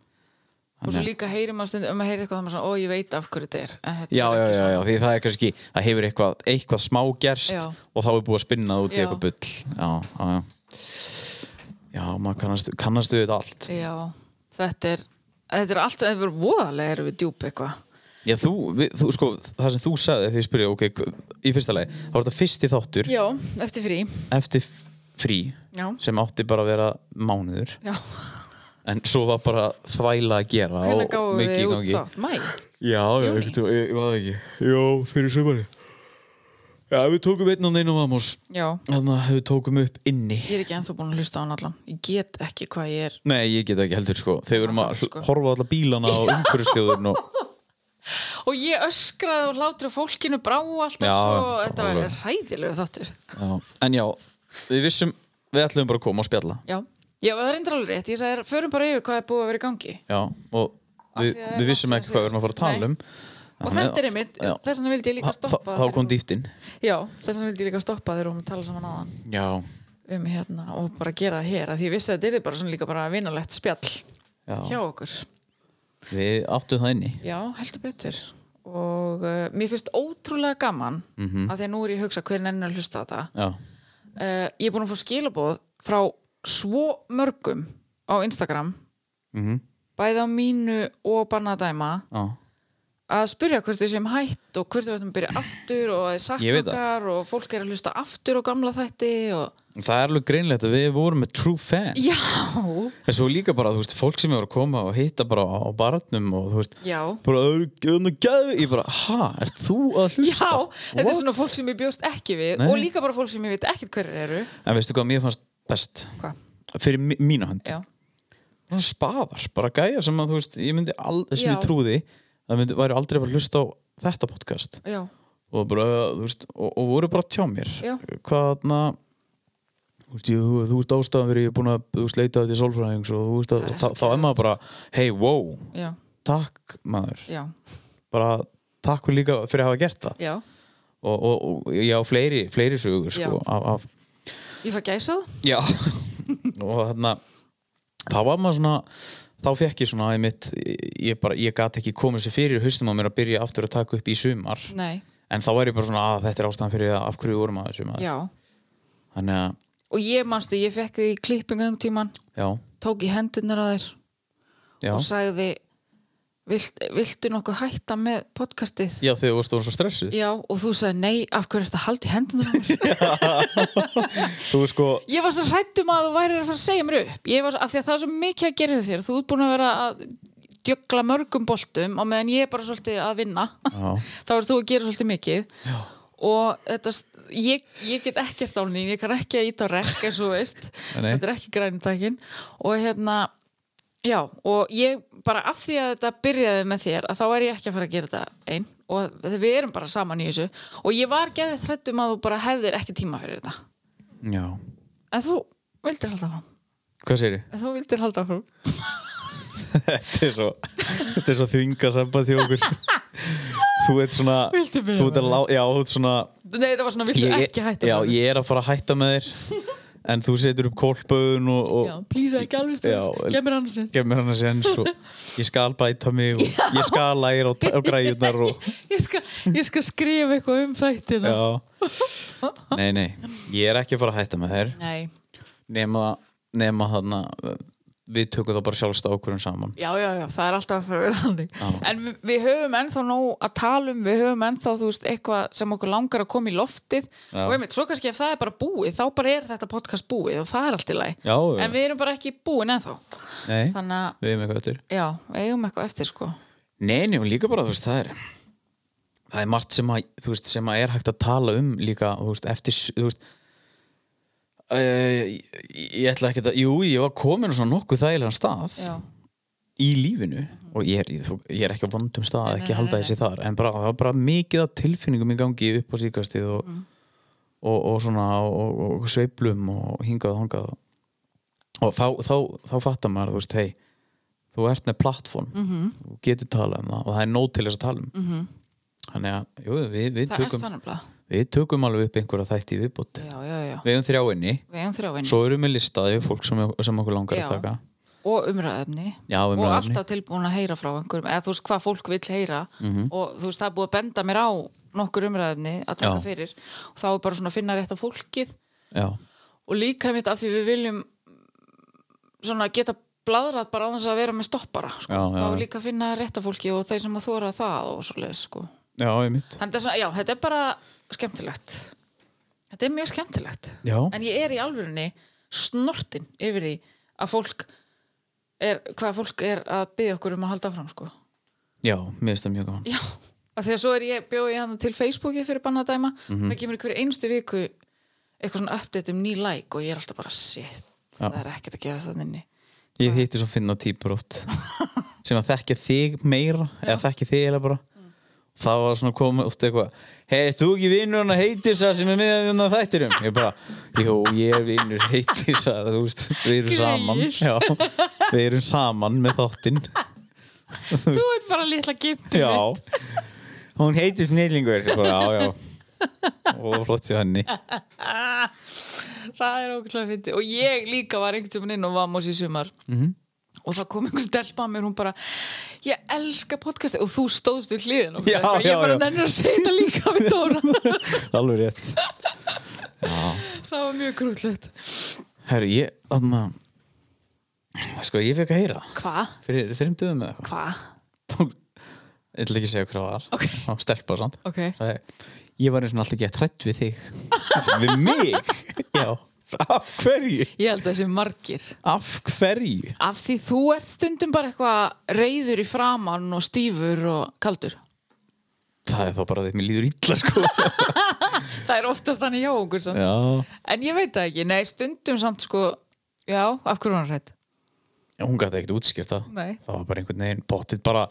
S4: Og svo
S3: Þannig.
S4: líka heyrir maður stundum um að heyri eitthvað það maður svona, ó ég veit af hverju þetta er en þetta
S3: já,
S4: er
S3: já,
S4: ekki
S3: já,
S4: svona.
S3: já, því það er kannski það hefur eitthvað, eitthvað smá gerst
S4: Já.
S3: og þá er búið að spinna það út í
S4: Já.
S3: eitthvað bull já, já, já já, maður kannast, kannastu þetta allt
S4: já, þetta er Þetta er allt, þetta er voðalega erum við djúb eitthvað
S3: já, þú, við, þú, sko, það sem þú sagði þegar ég spyrja, ok, hv- í fyrsta lagi þá var þetta fyrsti þáttur
S4: Já, eftir frí
S3: eftir frí
S4: Já.
S3: sem átti bara að vera mánuður
S4: Já,
S3: en svo var bara þvæla að gera
S4: hvernig
S3: og
S4: gáum
S3: mikið í
S4: við út
S3: gangi
S4: þátt? Mæ?
S3: Já, já,
S4: Júní.
S3: ég, ég, ég var það ekki Jó, fyrir sömari Já, við tókum einn á neinum Amos
S4: Já,
S3: Þannig að við tókum upp inni
S4: ég er ekki ennþá búin að hlusta á hann allan Ég get ekki hvað ég er
S3: Nei, ég get ekki heldur sko Þegar við erum að
S4: Það, sko.
S3: horfa á alla bílana og umhverfishljóðurinn og...
S4: Og ég öskraði og hlátur og fólkinu brá alltaf
S3: Já,
S4: svo,
S3: bara
S4: þetta var
S3: alveg.
S4: hræðilegu þáttur.
S3: já. En já, við vissum Við ætlum bara að koma og spjalla
S4: Já, já það er endur alveg rétt, ég sagði, þér, förum bara yfir hvað er búið að vera í gangi.
S3: já, Og
S4: Af
S3: við,
S4: því að það er
S3: við vissum
S4: langt
S3: ekki
S4: síðan
S3: hvað við erum að fara að tala um
S4: síðast. Og þetta er einmitt,
S3: já.
S4: þess vegna vildi ég líka
S3: Þa-
S4: stoppa.
S3: þá- Þá
S4: þegar
S3: kom
S4: hún-
S3: dýftin
S4: Já, þess vegna vildi ég líka stoppa þegar hún var að tala saman aðan
S3: Já,
S4: um hérna og bara gera það hér. af Því ég vissi að þetta er bara svona líka bara vinalegt spjall hjá
S3: já.
S4: okkur.
S3: Við áttum það inni
S4: Já, heldur betur. Og uh, mér finnst ótrúlega gaman mm
S3: Mhm.
S4: að því að nú er ég að hugsa hver nennir að hlusta á þetta.
S3: Já,
S4: uh, ég er búin að fá skilaboð frá svo mörgum á Instagram
S3: Mhm.
S4: bæði á mínu og bannadæma
S3: já
S4: að spyrja hvert við séum hætt og hvert við ættum að byrja aftur og að
S3: Ég
S4: sakna
S3: veit það.
S4: okkar og fólk er að hlusta aftur og gamla þætti og
S3: Það er alveg greinlegt að við vorum með true fans
S4: já,
S3: En svo líka bara, þú veist, fólk sem er að koma og hitta bara á barnum og þú veist
S4: já
S3: bara, "Öðru- geðu-" ég bara, ha, er þú að hlusta?
S4: Já, þetta er
S3: What?
S4: svona fólk sem ég bjóst ekki við
S3: Nei.
S4: og líka bara fólk sem ég veit ekkert hverjir eru
S3: En veistu hvað mér fannst best?
S4: Hvað?
S3: Fyrir mi- mína hönd
S4: Já,
S3: Svona Spaðar, bara gæja sem að þú veist Ég myndi aldrei, sem
S4: Já.
S3: ég trúði Það myndi, væri aldrei að hlusta á þetta podcast
S4: já,
S3: Og bara, þú veist Og, og voru bara tjá mér
S4: Já.
S3: Hvaðna Þú veist, ég, þú, þú veist ástæðan fyrir ég er búin að Þú veist, leita þetta í sólfræðings Og þú veist, að,
S4: Það er
S3: þá,
S4: svo
S3: þá er maður bara Hey, wow,
S4: já,
S3: takk maður
S4: já,
S3: Bara takk fyrir líka fyrir að hafa gert það
S4: já
S3: Og, og, og ég á fleiri, fleiri sögur
S4: Já.
S3: sko, af, af
S4: Ég fæ gæsað
S3: Já og þarna þá var maður svona þá fekk ég svona einmitt, ég, bara, ég gat ekki komið sér fyrir haustum á mér að byrja aftur að taka upp í sumar
S4: Nei,
S3: en þá er ég bara svona að þetta er ástæðan fyrir það af hverju við vorum að þessu maður
S4: já
S3: þannig að,
S4: Og ég manstu, ég fekk því klippingu um tíman
S3: já,
S4: tók í hendurnar að þér
S3: já
S4: og sagði Vilt, viltu nokkuð hætta með podcastið?
S3: já þegar þú varst orðin svo stressuð
S4: Já, og þú sagði nei, af hverju ertu að halda í hendunar á mér?
S3: þú sko,
S4: ég var svo hrættum að þú værir að fara að segja mér upp ég var svo, af því að það er svo mikið að gera hjá þér þú ert búin að vera að djögla mörgum boltum og meðan ég er bara svolítið að vinna
S3: já,
S4: þá er þú að gera svolítið mikið Já. og þetta, st- ég, ég get ekkert á henni ég kann ekki að íta á rekk eins og þú veist
S3: Nei.
S4: þetta er ekki grænumtækin og hérna Já, og ég bara af því að þetta byrjaði með þér að þá er ég ekki að fara að gera þetta einn og við erum bara saman í þessu og ég var geðið þrættum að þú bara hefðir ekki tíma fyrir þetta
S3: já
S4: en þú vildir halda fram
S3: hvað segir ég?
S4: en þú vildir halda fram
S3: þetta er svo, þetta er svo þvinga samband hjá okkur þú ert svona
S4: Viltu byrja
S3: þú ert að
S4: með
S3: lá, já, þú ert svona
S4: Nei, þetta var svona, viltu ekki hætta
S3: já,
S4: með mér?
S3: ég er að fara að hætta með þér en þú setur upp kólpöðun og, og
S4: Já, plýsa ekki alveg
S3: Já,
S4: stöður, gef mér annars eins
S3: gef mér hann að séns og ég skal bæta mig og ég skal læra á, á græjurnar og
S4: ég skal, ég skal skrifa eitthvað um þættina
S3: já nei, nei, ég er ekki að fara að hætta með þér
S4: Nei,
S3: nema, nema þarna uh, við tökum þá bara sjálfst ákvörðum um saman
S4: Já, já, já, það er alltaf að vera þannig En við, við höfum ennþá nóg að tala um við höfum ennþá, þú veist, eitthvað sem okkur langar að koma í loftið
S3: Já.
S4: og einmitt, svo kannski ef það er bara búið, þá bara er þetta podcast búið og það er allt í lagi
S3: Já, já.
S4: En við erum bara ekki búin ennþá
S3: Nei,
S4: Þannig að,
S3: við hefum eitthvað eftir
S4: já, eigum eitthvað eftir sko
S3: Nei, njá, líka bara, þú veist, það er það er margt sem að, þú veist, sem að er hægt að tala um líka, þú veist, eftir þú veist uh, ég, ég ætla ekki að, jú, ég var komin á svona nokkuð þægilegan stað
S4: Já, í
S3: í lífinu og ég er, ég, þú- ég er ekki á vondum stað
S4: Nei,
S3: ekki
S4: nei,
S3: halda
S4: nei,
S3: þessi þar, en bara, það var bara mikið af tilfinningum í gangi upp á síkastið og,
S4: Mm.
S3: og, og svona og, og, og sveiflum og hingað og hangað og, og þá, þá, þá fattar maður, þú veist, hei þú ert með plattform
S4: Mhm.
S3: -hmm. þú getur talað um það og það er nóg til þess að tala um mm -hmm. þannig að, jú, við, við,
S4: það er
S3: tökum,
S4: þannig blað
S3: við tökum alveg upp einhverja þætti í viðbútt
S4: Já, já, já,
S3: við erum þrjáinni,
S4: við eigum þrjáin
S3: svo erum við listaði fólk sem, sem okkur langar
S4: Já.
S3: að taka
S4: og umræðefni
S3: Já,
S4: og
S3: umræðuefni.
S4: alltaf tilbúin að heyra frá einhverjum eða þú veist hvað fólk vill heyra
S3: Mhm.
S4: og þú veist það er búið að benda mér á nokkur umræðefni að taka
S3: Já.
S4: fyrir og þá er bara svona að finna rétt af fólkið
S3: Já,
S4: og líka mitt af því við viljum svona geta bladrað bara á þess að vera með stoppara sko.
S3: Já, já,
S4: þá
S3: já.
S4: líka finna rétt af fólki og þeir sem að þóra það og svoleiðis sko.
S3: já, ég mitt
S4: þannig að svona, já, þetta er bara skemmtilegt þetta er mjög skemmtilegt
S3: Já,
S4: en ég er í alvörunni snortin yfir því að fólk er, hvað fólk er að byggja okkur um að halda fram sko.
S3: já, mér finnst það mjög gaman
S4: já, af því að svo er ég bjóði hann til Facebooki fyrir bannadæma mm það kemur ykkur einstu viku eitthvað svona uppdætt um ný like og ég er alltaf bara shit,
S3: Já.
S4: það er ekkert að gera það inni
S3: Ég hitti svo finna típur oft sem að þekkja þig meira eða þekkja þig eða bara það var svona komið oft eitthvað hei, þú ekki vinnur hann að heitisa sem er með hann að þættirum ég bara, jú, ég er vinnur heitisa þú veist, við erum saman
S4: Greyið.
S3: já, við erum saman með þáttinn
S4: þú er bara litla gimpi
S3: já, hún heitir snillingur Ég bara, já, já og flott í henni
S4: Ah, það er ógæslega fyndi og ég líka var einhvern tímann inn og vamos í sumar
S3: Mhm.
S4: -hmm. og það kom einhver stelpa að mér hún bara, ég elska podcasti og þú stóðst við hliðin og
S3: Já,
S4: ég
S3: já,
S4: bara
S3: já.
S4: nennur að segja þetta líka við Dóra
S3: alveg rétt
S4: það var mjög grútlegt
S3: herru, ég, þarna sko, ég fekk að heyra
S4: hva?
S3: fyrir þreim döðum eða eitthvað
S4: hva?
S3: Tók- ég ætla ekki að segja hvað það var
S4: Ok.
S3: það var stelpa og samt
S4: ok,
S3: Sagði, ég var eins og alltaf ekki að trætt við þig Sem við mig já, af hverju
S4: ég held að það sé margir
S3: af hverju
S4: af því þú ert stundum bara eitthvað reyður í framann og stífur og kaldur
S3: það er þá bara því að mér líður illa sko
S4: það er oftast þannig hjá okkur samt.
S3: já,
S4: en ég veit það ekki, nei stundum samt sko já, af hverju hann rætt
S3: hún gæti ekkert útskýrt það
S4: Nei.
S3: það var bara einhvern veginn pottit bara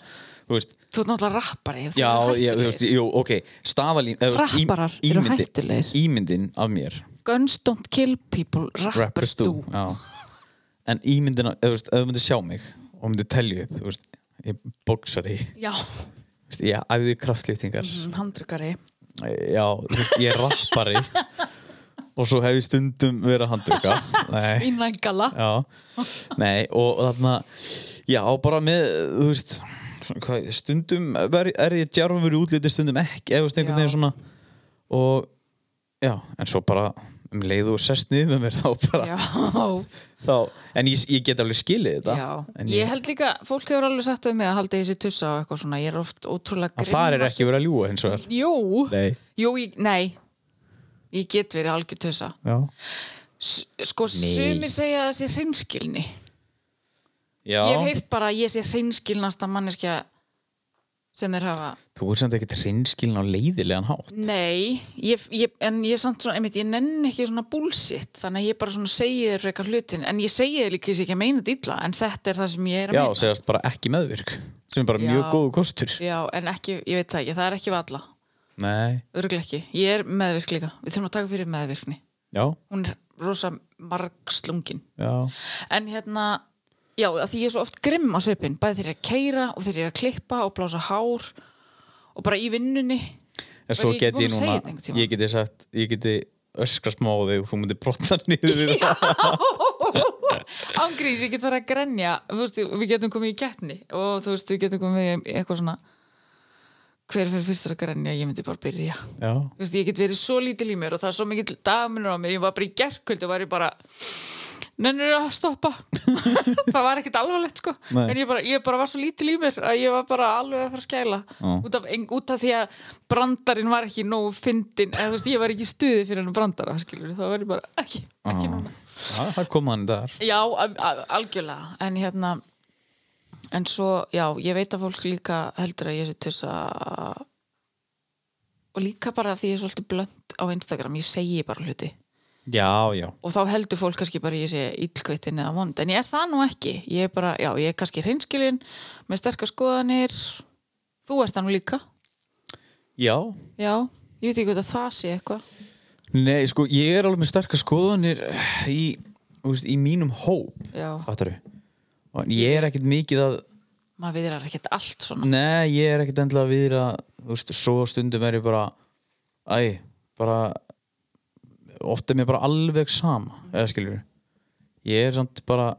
S3: þú veist,
S4: þú ert náttúrulega rappari þú
S3: já, ég, þú
S4: ert hættulegur.
S3: veist, jú, ok staðalín, eða, þú veist, í-
S4: Rapparar eru
S3: ímyndin-
S4: hættulegir.
S3: ímyndin af mér
S4: Guns don't kill people, rappers do
S3: Já. en ímyndin, af- eða þú veist, ef þú myndir sjá mig og myndir telja upp, þú veist ég boksari,
S4: Já,
S3: þú veist, ég æfði kraftlýftingar
S4: handrykari
S3: já, þú veist, ég er rappari og svo hef ég stundum verið að handruka nei,
S4: Innængala
S3: já nei, og þarna já, bara með, þú veist hvað, stundum er, er ég djarfur í útliti, stundum ekki, eða þú veist, einhvern
S4: Já.
S3: veginn svona og já, en svo bara um leið og sest niður með mér þá bara
S4: Já,
S3: þá, en ég, ég get alveg skilið þetta
S4: já.
S3: en
S4: Ég held líka, fólk hefur alveg sagt um mig að halda í þessi tussa og eitthvað svona, ég er oft ótrúlega
S3: að það er ekki verið að ljúga hins vegar
S4: Jú,
S3: nei,
S4: Jú, ég, nei Ég get verið algjör tussa
S3: já,
S4: S Sko,
S3: Nei.
S4: sumir segja að það sé hreinskilni
S3: já.
S4: Ég hef heyrt bara að ég sé hreinskilnasta manneskja sem þeir hafa
S3: þú er samt ekkert reynskilin á leiðilegan hátt
S4: Nei, ég, ég, en ég samt svona, einmitt, ég nenn ekki svona bullshit þannig að ég bara svona segi þér frekar hlutin en ég segi þér líka þess ekki að meina þetta illa en þetta er það sem ég er að
S3: já,
S4: meina
S3: segast bara ekki meðvirk sem er bara
S4: Já.
S3: mjög góðu kostur
S4: Já, en ekki, ég veit það ekki, það er ekki valla
S3: nei,
S4: örgulega ekki, ég er meðvirk líka við þurfum að taka fyrir meðvirkni
S3: já,
S4: hún er rosa margslungin
S3: já
S4: En hérna, já, að því ég er svo oft grimm á svipin, bæði þeir eru að keira og þeir eru að klippa og blása hár og bara í vinnunni.
S3: en svo
S4: Var ég ekki
S3: geti
S4: búin
S3: ég
S4: að segja þetta
S3: núna,
S4: einhvern tímann?
S3: ég geti sagt ég geti öskra smá á þig og þú myndir brotna niður við það
S4: Ángrís, ég get verið að grenja, þú veist, við getum komið í keppni og þú veist, við getum komið í eitthvað svona, hver fyrir fyrstur að grenja, ég myndi bara byrja.
S3: já,
S4: Þú veist, ég get verið svo lítil í mér og það er svo mikill dagmunur á mér, ég var bara í gerkvöld og var ég bara, nennir að stoppa það var ekkert alvarlegt sko
S3: Nei.
S4: en ég bara, ég bara var svo lítil í mér að ég var bara alveg að fara að skæla
S3: Já.
S4: út af, en, út af því að brandarinn var ekki nógu fyndin, eða þú veist, ég var ekki í stuði fyrir hennu brandara, skilur, þá var ég bara ekki, ekki núna
S3: Já, það kom hann þar
S4: Já, al- al- algjörlega en hérna en svo, já, ég veit að fólk líka heldur að ég sé til þess að og líka bara því ég er svolítið blönd á Instagram, ég segi bara hluti
S3: Já, já,
S4: og þá heldur fólk kannski bara að ég sé illkveitin eða vond, en ég er það nú ekki ég er bara, já, ég er kannski hreinskilin með sterkar skoðanir þú ert það nú líka,
S3: já
S4: já ég veit ekki hvort að það sé eitthvað
S3: Nei, sko, ég er alveg með sterkar skoðanir eh, í, þú veist, í mínum hóp
S4: já,
S3: Fattaru Ég er ekkert mikið að
S4: maður viðrar ekkert allt svona
S3: Nei, ég er ekkert endilega viðra Þú veist, svo stundum er ég bara Æ, bara Oft er mér bara alveg sama Eða skiljur Ég er samt bara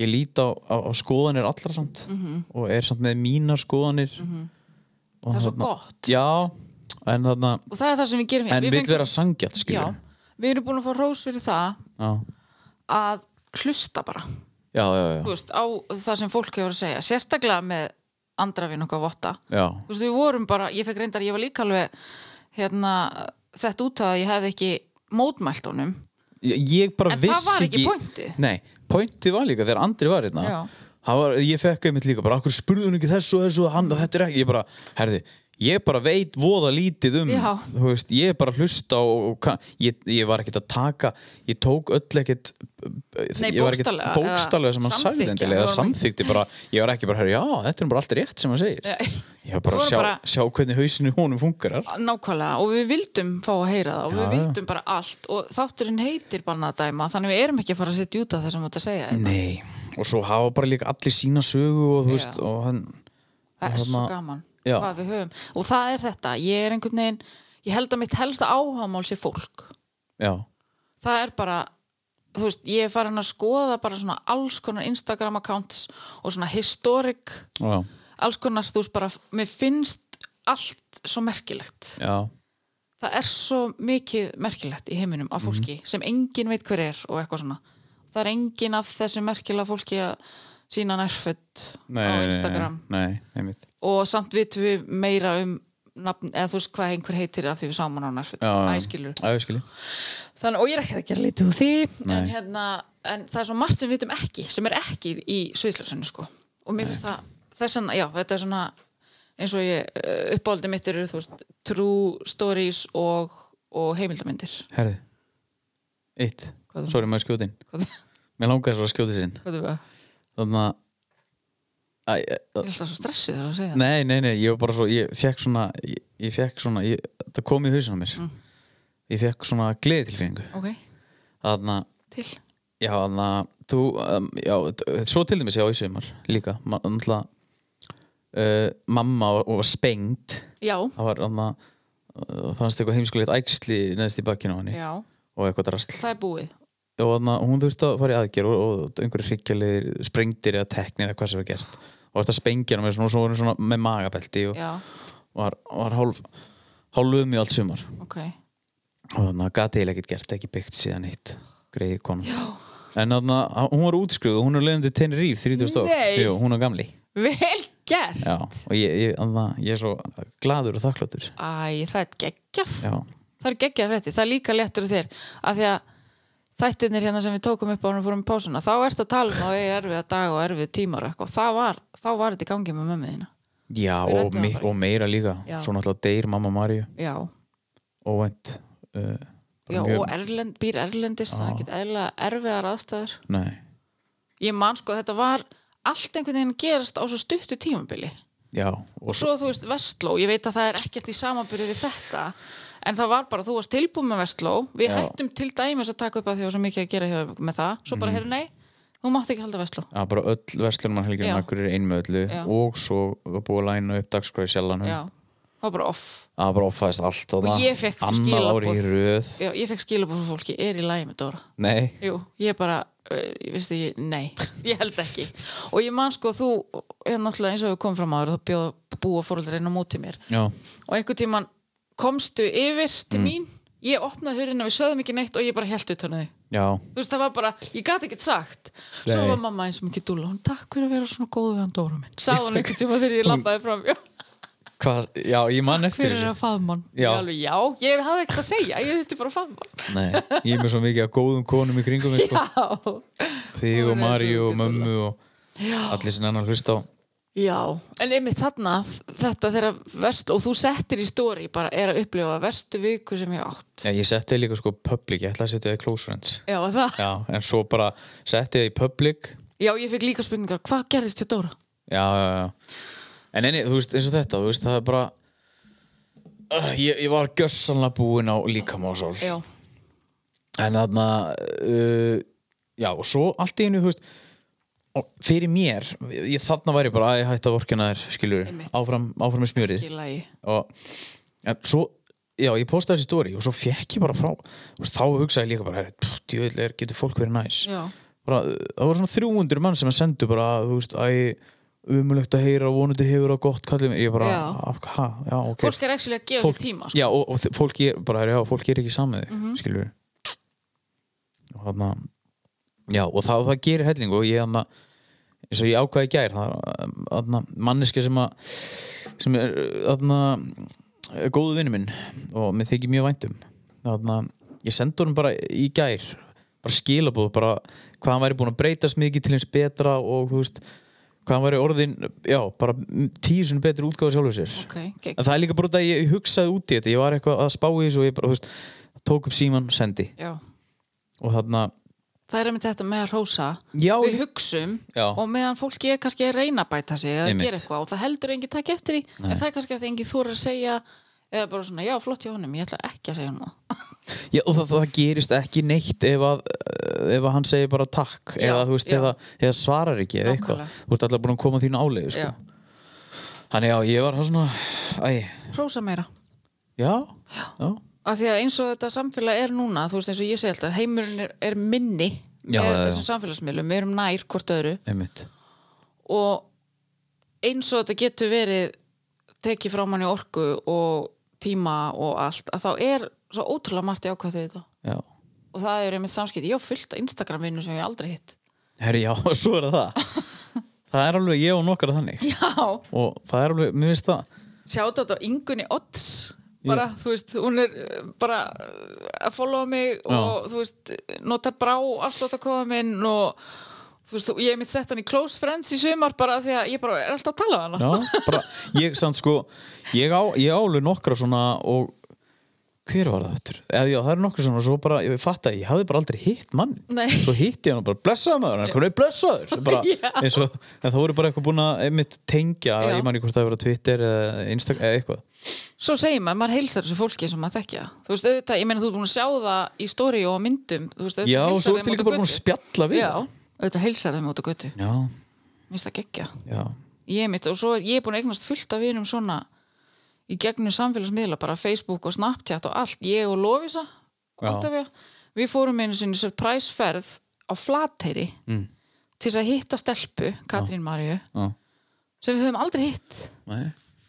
S3: Ég lít á, á, á skoðanir allra samt -hmm. Og er samt með mínar skoðanir -hmm.
S4: Mhm. það er svo gott,
S3: Já, en þarna
S4: og það er það sem við gerum hér.
S3: En
S4: Við
S3: við
S4: fengum-
S3: vera sangjart, skiljur
S4: Já, við erum búin að fá rós fyrir það
S3: Já,
S4: að hlusta bara
S3: já, já, já,
S4: þú veist, á það sem fólk hefur að segja sérstaklega með andra við nokkað votta
S3: já.
S4: þú veist, við vorum bara, ég fekk reyndar ég var líka alveg hérna, sett út að ég hefði ekki mótmælt honum
S3: Ég, ég bara
S4: En það
S3: vissi
S4: var ekki pointið.
S3: Nei, pointið var líka þegar Andri var hérna
S4: Já.
S3: það var, ég fekk einmitt líka bara, akkur spurði hún ekki þessu og þessu, hann, þetta er ekki ég bara, herði, ég bara veit voða lítið um,
S4: Já.
S3: þú veist, ég er bara að hlusta og, og ka- ég, ég var ekkert að taka ég tók öll ekkert
S4: Nei,
S3: ég var ekkert
S4: bókstaflega, eða
S3: bókstallega sem hann sagði
S4: samþykkja,
S3: endilega,
S4: við
S3: eða
S4: vorum-
S3: samþykti bara, ég var ekki bara, herri, já, þetta er bara allt rétt sem hann segir,
S4: Já.
S3: ég var bara
S4: Við
S3: að
S4: vorum
S3: sjá,
S4: bara-
S3: sjá hvernig hausinu honum funkarar
S4: nákvæmlega og við vildum fá að heyra það og
S3: Já,
S4: við
S3: já.
S4: vildum bara allt og þátturinn heitir bannadæma þannig við erum ekki að fara að setja út af það sem þú ert að segja
S3: Nei, og svo hafa bara líka allir sína sögu og þú
S4: Já.
S3: veist og hann,
S4: það er
S3: Og
S4: svo
S3: þarna-
S4: gaman
S3: Já.
S4: hvað við höfum og það er þetta, ég er einhvern veginn ég held að mitt helsta áhámál sé fólk
S3: já,
S4: það er bara þú veist, ég er farin að skoða bara svona alls konar Instagram accounts og svona historic
S3: já,
S4: alls konar, þú veist bara, mér finnst allt svo merkilegt
S3: já
S4: það er svo mikið merkilegt í heiminum af fólki
S3: Mhm.
S4: sem engin veit hver er og eitthvað svona það er engin af þessu merkilega fólki að sína nærföld á Instagram
S3: Nei, einmitt
S4: og samt vitum við meira um nafn, eða þú veist hvað einhver heitir af því við sáum hann á nærföld,
S3: Já, já.
S4: æskilur
S3: Já, ég skilji
S4: Þannig, og ég er ekkert að gera lítið úr því en,
S3: Nei.
S4: hérna, en það er svo margt sem við vitum ekki sem er ekki í sviðslöfsönnu sko. og mér finnst það þess að, já, þetta er svona eins og ég, uppáldið mitt eru þú veist, true stories og, og heimildamindir
S3: Herði, eitt
S4: Hvað er það?
S3: Sorry, maður skjótin
S4: hvað,
S3: Mér langaði svo að skjóti sinn
S4: hvað er það?
S3: Þannig að Æ, æ, æ,
S4: Ég er alltaf svo stressið þegar að segja
S3: Nei, nei, nei, ég var bara svo Ég fekk svona, ég, ég fekk svona ég, Það kom í hausinu á mér
S4: Mm.
S3: Ég fekk svona gleðitilfinningu
S4: það ok,
S3: Þannig að
S4: til
S3: Já, þannig að þú, um, já, t- svo til dæmis já í sumar líka, Ma- náttúrulega uh, mamma var, var spengt,
S4: já,
S3: það var þannig að uh, fannst eitthvað heimskulegt æxli neðst í bakkinu á henni
S4: já,
S3: og eitthvað drasl
S4: það er búið
S3: og þannig að hún þurfti að fara í aðgerð og, og einhverju hryggjalegir sprengdir eða teknir eða hvað sem var gert og þetta spengja hann með svona, og svo var hún svona með magabelti og
S4: já,
S3: var, var hálf, hálf um í allt sumar
S4: ok,
S3: og þannig að gati eiginlega ekkert gert ekki byggt síðan eitt greiði konu Já. en þannig að hún var útskrifuð og hún er leiðandi tenni ríf 30 ára
S4: Nei.
S3: Jú, hún er gamli
S4: vel gert
S3: Já. og ég, ég, anna, ég er svo gladur og þakkláttur
S4: æ, það er geggjað
S3: Já.
S4: það er geggjað frétti, það er líka léttur á þér af því að þættirnir hérna sem við tókum upp á hann og fórum í pásuna, þá ert að tala um að það er erfiða dag og erfið tímar og eitthvað. það var, þá var þetta í gangi með mömmu þína
S3: Já,
S4: Við
S3: og,
S4: ræddum
S3: mi-
S4: það bara.
S3: og meira líka
S4: Já.
S3: svo náttúrulega deyr mamma Maríu
S4: já,
S3: óvænt uh,
S4: já
S3: mjög-
S4: og erlend, býr erlendist það er ekkert eðlilega erfiðar aðstæður
S3: Nei.
S4: ég man sko, þetta var allt einhvern veginn að gerast á svo stuttu tímabili
S3: Já, og
S4: og svo þú veist Vestló, ég veit að það er ekkert í samanbyrju við þetta en það var bara, þú varst tilbúin með Vestló við
S3: Já.
S4: hættum til dæmis að taka upp að því og svo mikið að gera hjá okkur með það, svo bara mm. nei, þú mátt ekki halda Vestló
S3: Já, bara öll verslunum að helgjum
S4: Já.
S3: akkur er einn með öllu
S4: Já.
S3: og svo var búið að læna upp dagskráði sjálfanum
S4: já, það var bara off
S3: það bara ofæðist allt og
S4: ég fékk
S3: annað ári í
S4: skilaboð.
S3: röð
S4: Já, ég fekk skilabóð frá fólki, er í lagi með Dóra
S3: Nei,
S4: Jú, ég bara, uh, ég veist ekki, nei ég held ekki og ég man sko, þú, er náttúrulega eins og við komum fram áður þá bjóða búa fóröldrein á móti mér
S3: já,
S4: og einhvern
S3: Mm.
S4: tíman komstu yfir til mín, ég opnaði hurðina við sögðum ekki neitt og ég bara held utan á þig
S3: já,
S4: þú veist það var bara, ég gat ekkert sagt svo
S3: Nei.
S4: var mamma eins og mikið dúla hún takk fyrir að vera svona góð við hann Dóra minn sagði hún einhvern tíma þegar ég labbaði fram já,
S3: hvað, já, ég man eftir
S4: fyrir að faðma hann
S3: Já.
S4: ég alveg já, ég hafði ekkert að segja ég þurfti bara að faðma hann
S3: Nei, ég er með svo mikið af góðum konum í kringum mig, sko.
S4: já,
S3: þig og
S4: Hún er
S3: Mari
S4: svo
S3: og
S4: mikið
S3: mömmu og allir sem annar hlust á
S4: já, en einmitt þarna þetta þegar vest, og þú settir í stóri bara er að upplifa verstu viku sem ég átt
S3: Já, ég setti líka sko public, ég ætla að setja það í close friends
S4: já, það,
S3: Já, en svo bara setti það í public
S4: já, ég fekk líka spurningar hvað gerðist hjá Dóra?
S3: Já, já, já En enni, þú veist, eins og þetta, þú veist, það er bara uh, ég, ég var gjössanlega búinn á líkamásál
S4: já,
S3: En þarna uh, Já, og svo allt í einu, þú veist og Fyrir mér, ég, þarna væri bara að ég hætti að vorkina þér, skilur
S4: Einmitt.
S3: áfram, áfram með smjörið
S4: ekki í lagi
S3: og en svo já, ég postaði þessi stóri og svo fekk ég bara frá þú veist, þá hugsaði ég líka bara, herri, djöðl er getur fólk verið næs
S4: já,
S3: bara, það voru svona 300 mann sem að sendu bara, þú veist, æ umulegt að heyra, vonandi hefur það gott kallið mig, ég bara,
S4: Já.
S3: af, ha, já, ok
S4: fólk er ekki að gefa þér tíma sko. Mhm.
S3: já, og, og þi- fólk er, bara, já, fólk er ekki samið mm -hmm. skilur og þarna já, og það, það gerir helling og ég þarna eins og ég ákvaði í gær það, þarna, manneski sem að sem er þarna er góðu vinnu minn og mér þykir mjög væntum þarna, ég sendur hann bara í gær bara skilabóð, bara hvað hann væri búin að breytast mikið til hins betra og þú veist, hvað hann væri orðin já, bara tíu sinni betri útgáfa sjálfur sér
S4: ok, gegn.
S3: En það er líka bara út að ég ég hugsaði út í þetta Ég var eitthvað að spá í þessu og ég bara, þú veist Tók upp síman, sendi
S4: já
S3: Og þarna,
S4: það er einmitt þetta með að rósa
S3: Já,
S4: við
S3: ég-
S4: hugsum
S3: Já.
S4: og meðan fólki er kannski að reyna að bæta sig eða
S3: Einmitt.
S4: gera eitthvað og það heldur engin takk eftir því en það er kannski að það engin þóra að segja eða bara svona, já flott hjá honum, ég ætla ekki að segja honum það
S3: já, og það, það gerist ekki neitt Ef að, ef að hann segir bara takk
S4: Já,
S3: Eða, þú veist,
S4: já.
S3: eða, eða svarar ekki Eða eitthvað,
S4: Nákvæmlega.
S3: þú ert alltaf búin að koma þínu áleiði
S4: Já.
S3: sko. Þannig já, ég var það svona Æ,
S4: rósa meira
S3: já, já
S4: af því að eins og þetta samfélag er núna þú veist eins og ég segi alltaf, heimurinn er, er minni
S3: Já,
S4: er
S3: já, já.
S4: þessum samfélagsmiðlum, við erum nær hvort öðru
S3: Einmitt,
S4: og eins og þetta getur verið tekið frá manni orku og tíma og allt að þá er svo ótrúlega margt í ákvæðið þetta
S3: já
S4: og það eru einmitt samskipti, ég á fullt Instagram vinnu sem ég aldrei hitt
S3: Herri, já, svo er það Það er alveg ég og nokkara þannig
S4: Já,
S3: Og það er alveg, mér finnst það
S4: sjáta þetta á Ingunni Odds bara, þú veist, hún er uh, bara uh, að followa mig og þú veist, notar brá afslóttakofa minn og þú veist, ég hef mitt sett hann í Close Friends í sumar bara af því að ég bara er alltaf að tala við hana
S3: Já, bara, ég samt sko ég, á, ég álu nokkra svona og hver var það aftur? Eða, já, það eru nokkra svona og svo bara, ég fatt að ég hafði bara aldrei hitt mann
S4: Nei.
S3: svo hitti ég hann og bara blessaði maður hann hvernig er blessaður Svo bara,
S4: Já.
S3: eins og, en það voru bara eitthvað búin að einmitt tengja,
S4: Já.
S3: ég man ekki hvort það hefur á Twitter eða Instagram eða eitthvað
S4: Svo segir maður, maður heilsar þessu fólki sem maður þekkja Þú veist, auðvitað, ég meina þú er búin að sjá það í stóri og á myndum Þú veist,
S3: Já, og svo
S4: heilsar
S3: ertu
S4: þeim
S3: líka
S4: út á
S3: bara búin að
S4: götu.
S3: spjalla við
S4: Já,
S3: það.
S4: auðvitað heilsar þeim út á götu
S3: Já,
S4: Mér finnst það geggja
S3: já,
S4: ég mitt og svo er ég er búin að eignast fullt af vinum svona í gegnum samfélagsmiðla bara Facebook og Snapchat og allt ég og Lovisa
S3: Já.
S4: Oktavía, við fórum einu sinni surprise ferð á Flateyri
S3: Mm.
S4: til þess að hitta stelpu Katrín Maríu
S3: já
S4: sem við höfum aldrei hitt
S3: Nei.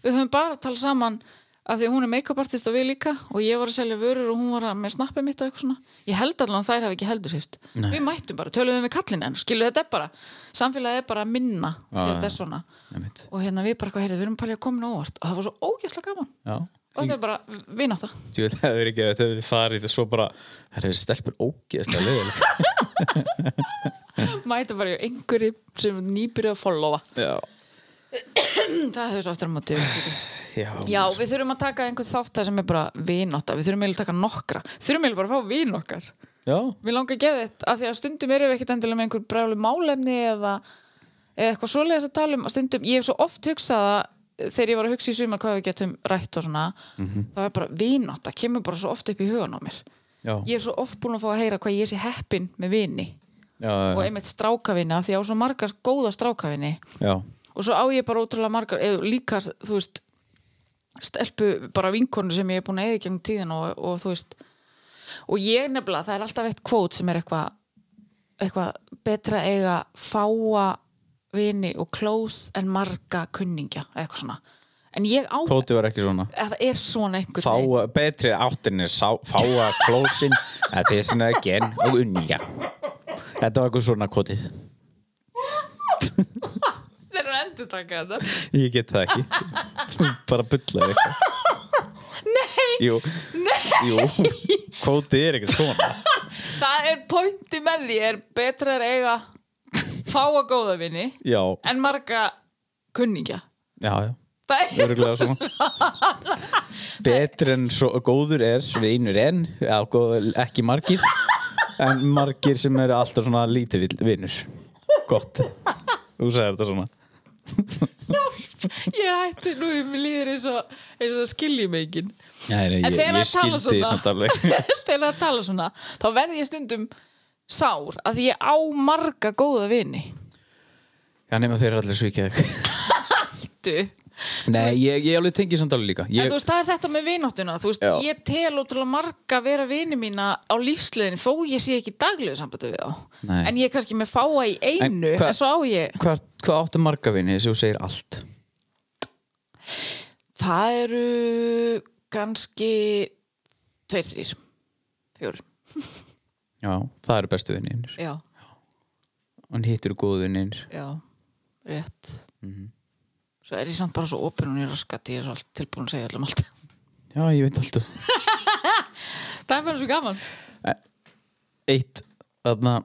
S4: við höfum bara talað saman af því að hún er make-up artist og við líka og ég var að selja vörur og hún var að- með snappið mitt og eitthvað svona ég held allan að þær hafi ekki heldur hist
S3: Nei.
S4: við mættum bara, töluðum við kallin en skilu þetta er bara, samfélagið er bara minna þegar þetta er svona
S3: einmitt
S4: og hérna við bara eitthvað heyrðu, við erum pælið að koma inn á óvart og það var svo ógæslega gaman
S3: Já,
S4: og þetta er bara vináta
S3: Ég vil hefur ekki að þetta hefur farið og svo bara, það er stelpur ógeðst að leiðilega
S4: mæta bara í einhverju sem nýbyrjuð að followa
S3: Já,
S4: það hefur svo aftur á móti
S3: já,
S4: já, við þurfum að taka einhvern þátt það sem er bara vináta, við þurfum eiginlega að taka nokkra þurfum eiginlega bara að fá vin okkar
S3: já.
S4: við langar að geða þetta, af því að stundum erum við ekkert endilega með einhver brálu málefni eða, eða eitthvað svoleiðis að tala um að stundum, ég hef svo oft hugsað að eh, þegar ég var að hugsa í sumar hvað við getum rætt og svona, það er bara vináta kemur bara svo oft upp í hugan á mér
S3: Já,
S4: ég er svo oft búin að fá að heyra hvað ég sé heppin með vini
S3: já, já,
S4: og einmitt strákavinna því ég á svo margar góða strákavinni
S3: já,
S4: og svo á ég bara ótrúlega margar eða líka, þú veist stelpu bara vinkonu sem ég er búin að eða gegnum tíðin og, og þú veist og ég nefnilega, það er alltaf eitt kvót sem er eitthvað eitthvað betra að eiga fáa vini og close en marga kunningja eða eitthvað svona en ég á
S3: Tóti var ekki svona
S4: að það er svona einhvern veginn
S3: Fáa, betri áttinni, sá, fáa klósin að þeir sinna ekki enn og unnýja Þetta var eitthvað svona kotið
S4: Þeir eru að endurtaka þetta
S3: Ég get það ekki Bara bulla eitthvað Nei, Jú. Nei. Jú. Kvótið er eitthvað svona
S4: Það er pointi með því er betra er eiga fáa góða vini
S3: Já,
S4: en marga kunningja
S3: já, já
S4: Það er
S3: Öruglega svona Betri en svo, góður er við einur enn já, góð, ekki margir en margir sem eru alltaf svona lítið vill- vinur Gott Þú sagði þetta svona
S4: ég er hætti nú er mér líður eins og, eins og skiljum enginn
S3: Nei, nei,
S4: En
S3: ég,
S4: þegar
S3: ég
S4: að
S3: skildi
S4: tala
S3: því
S4: svona-
S3: samt alveg
S4: þegar það tala svona þá verð ég stundum sár að ég á marga góða vini
S3: Já, nema þeir eru allir svíkjað
S4: Þú
S3: Nei, ég, ég alveg tengi samt alveg líka
S4: En
S3: ég,
S4: þú veist, það er þetta með vináttuna Þú veist,
S3: Já.
S4: ég tel ótrúlega marga vera vini mína á lífsliðin þó ég sé ekki í daglegu sambandi við þá
S3: Nei.
S4: En ég er kannski með fáa í einu
S3: En
S4: en,
S3: hva-
S4: svo á ég
S3: Hvað, hvað áttu marga vini sem þú segir allt?
S4: Það eru kannski tveir, þrýr, fjór
S3: Já, það eru bestu vinir
S4: Já,
S3: Hann hittur góðu vinir
S4: já, rétt
S3: Mhm.
S4: Svo er ég samt bara svo opinn og ég raskat Ég er svo allt tilbúin að segja allum allt
S3: Já, ég veit alltaf
S4: Það er bara svo gaman
S3: Eitt, þarna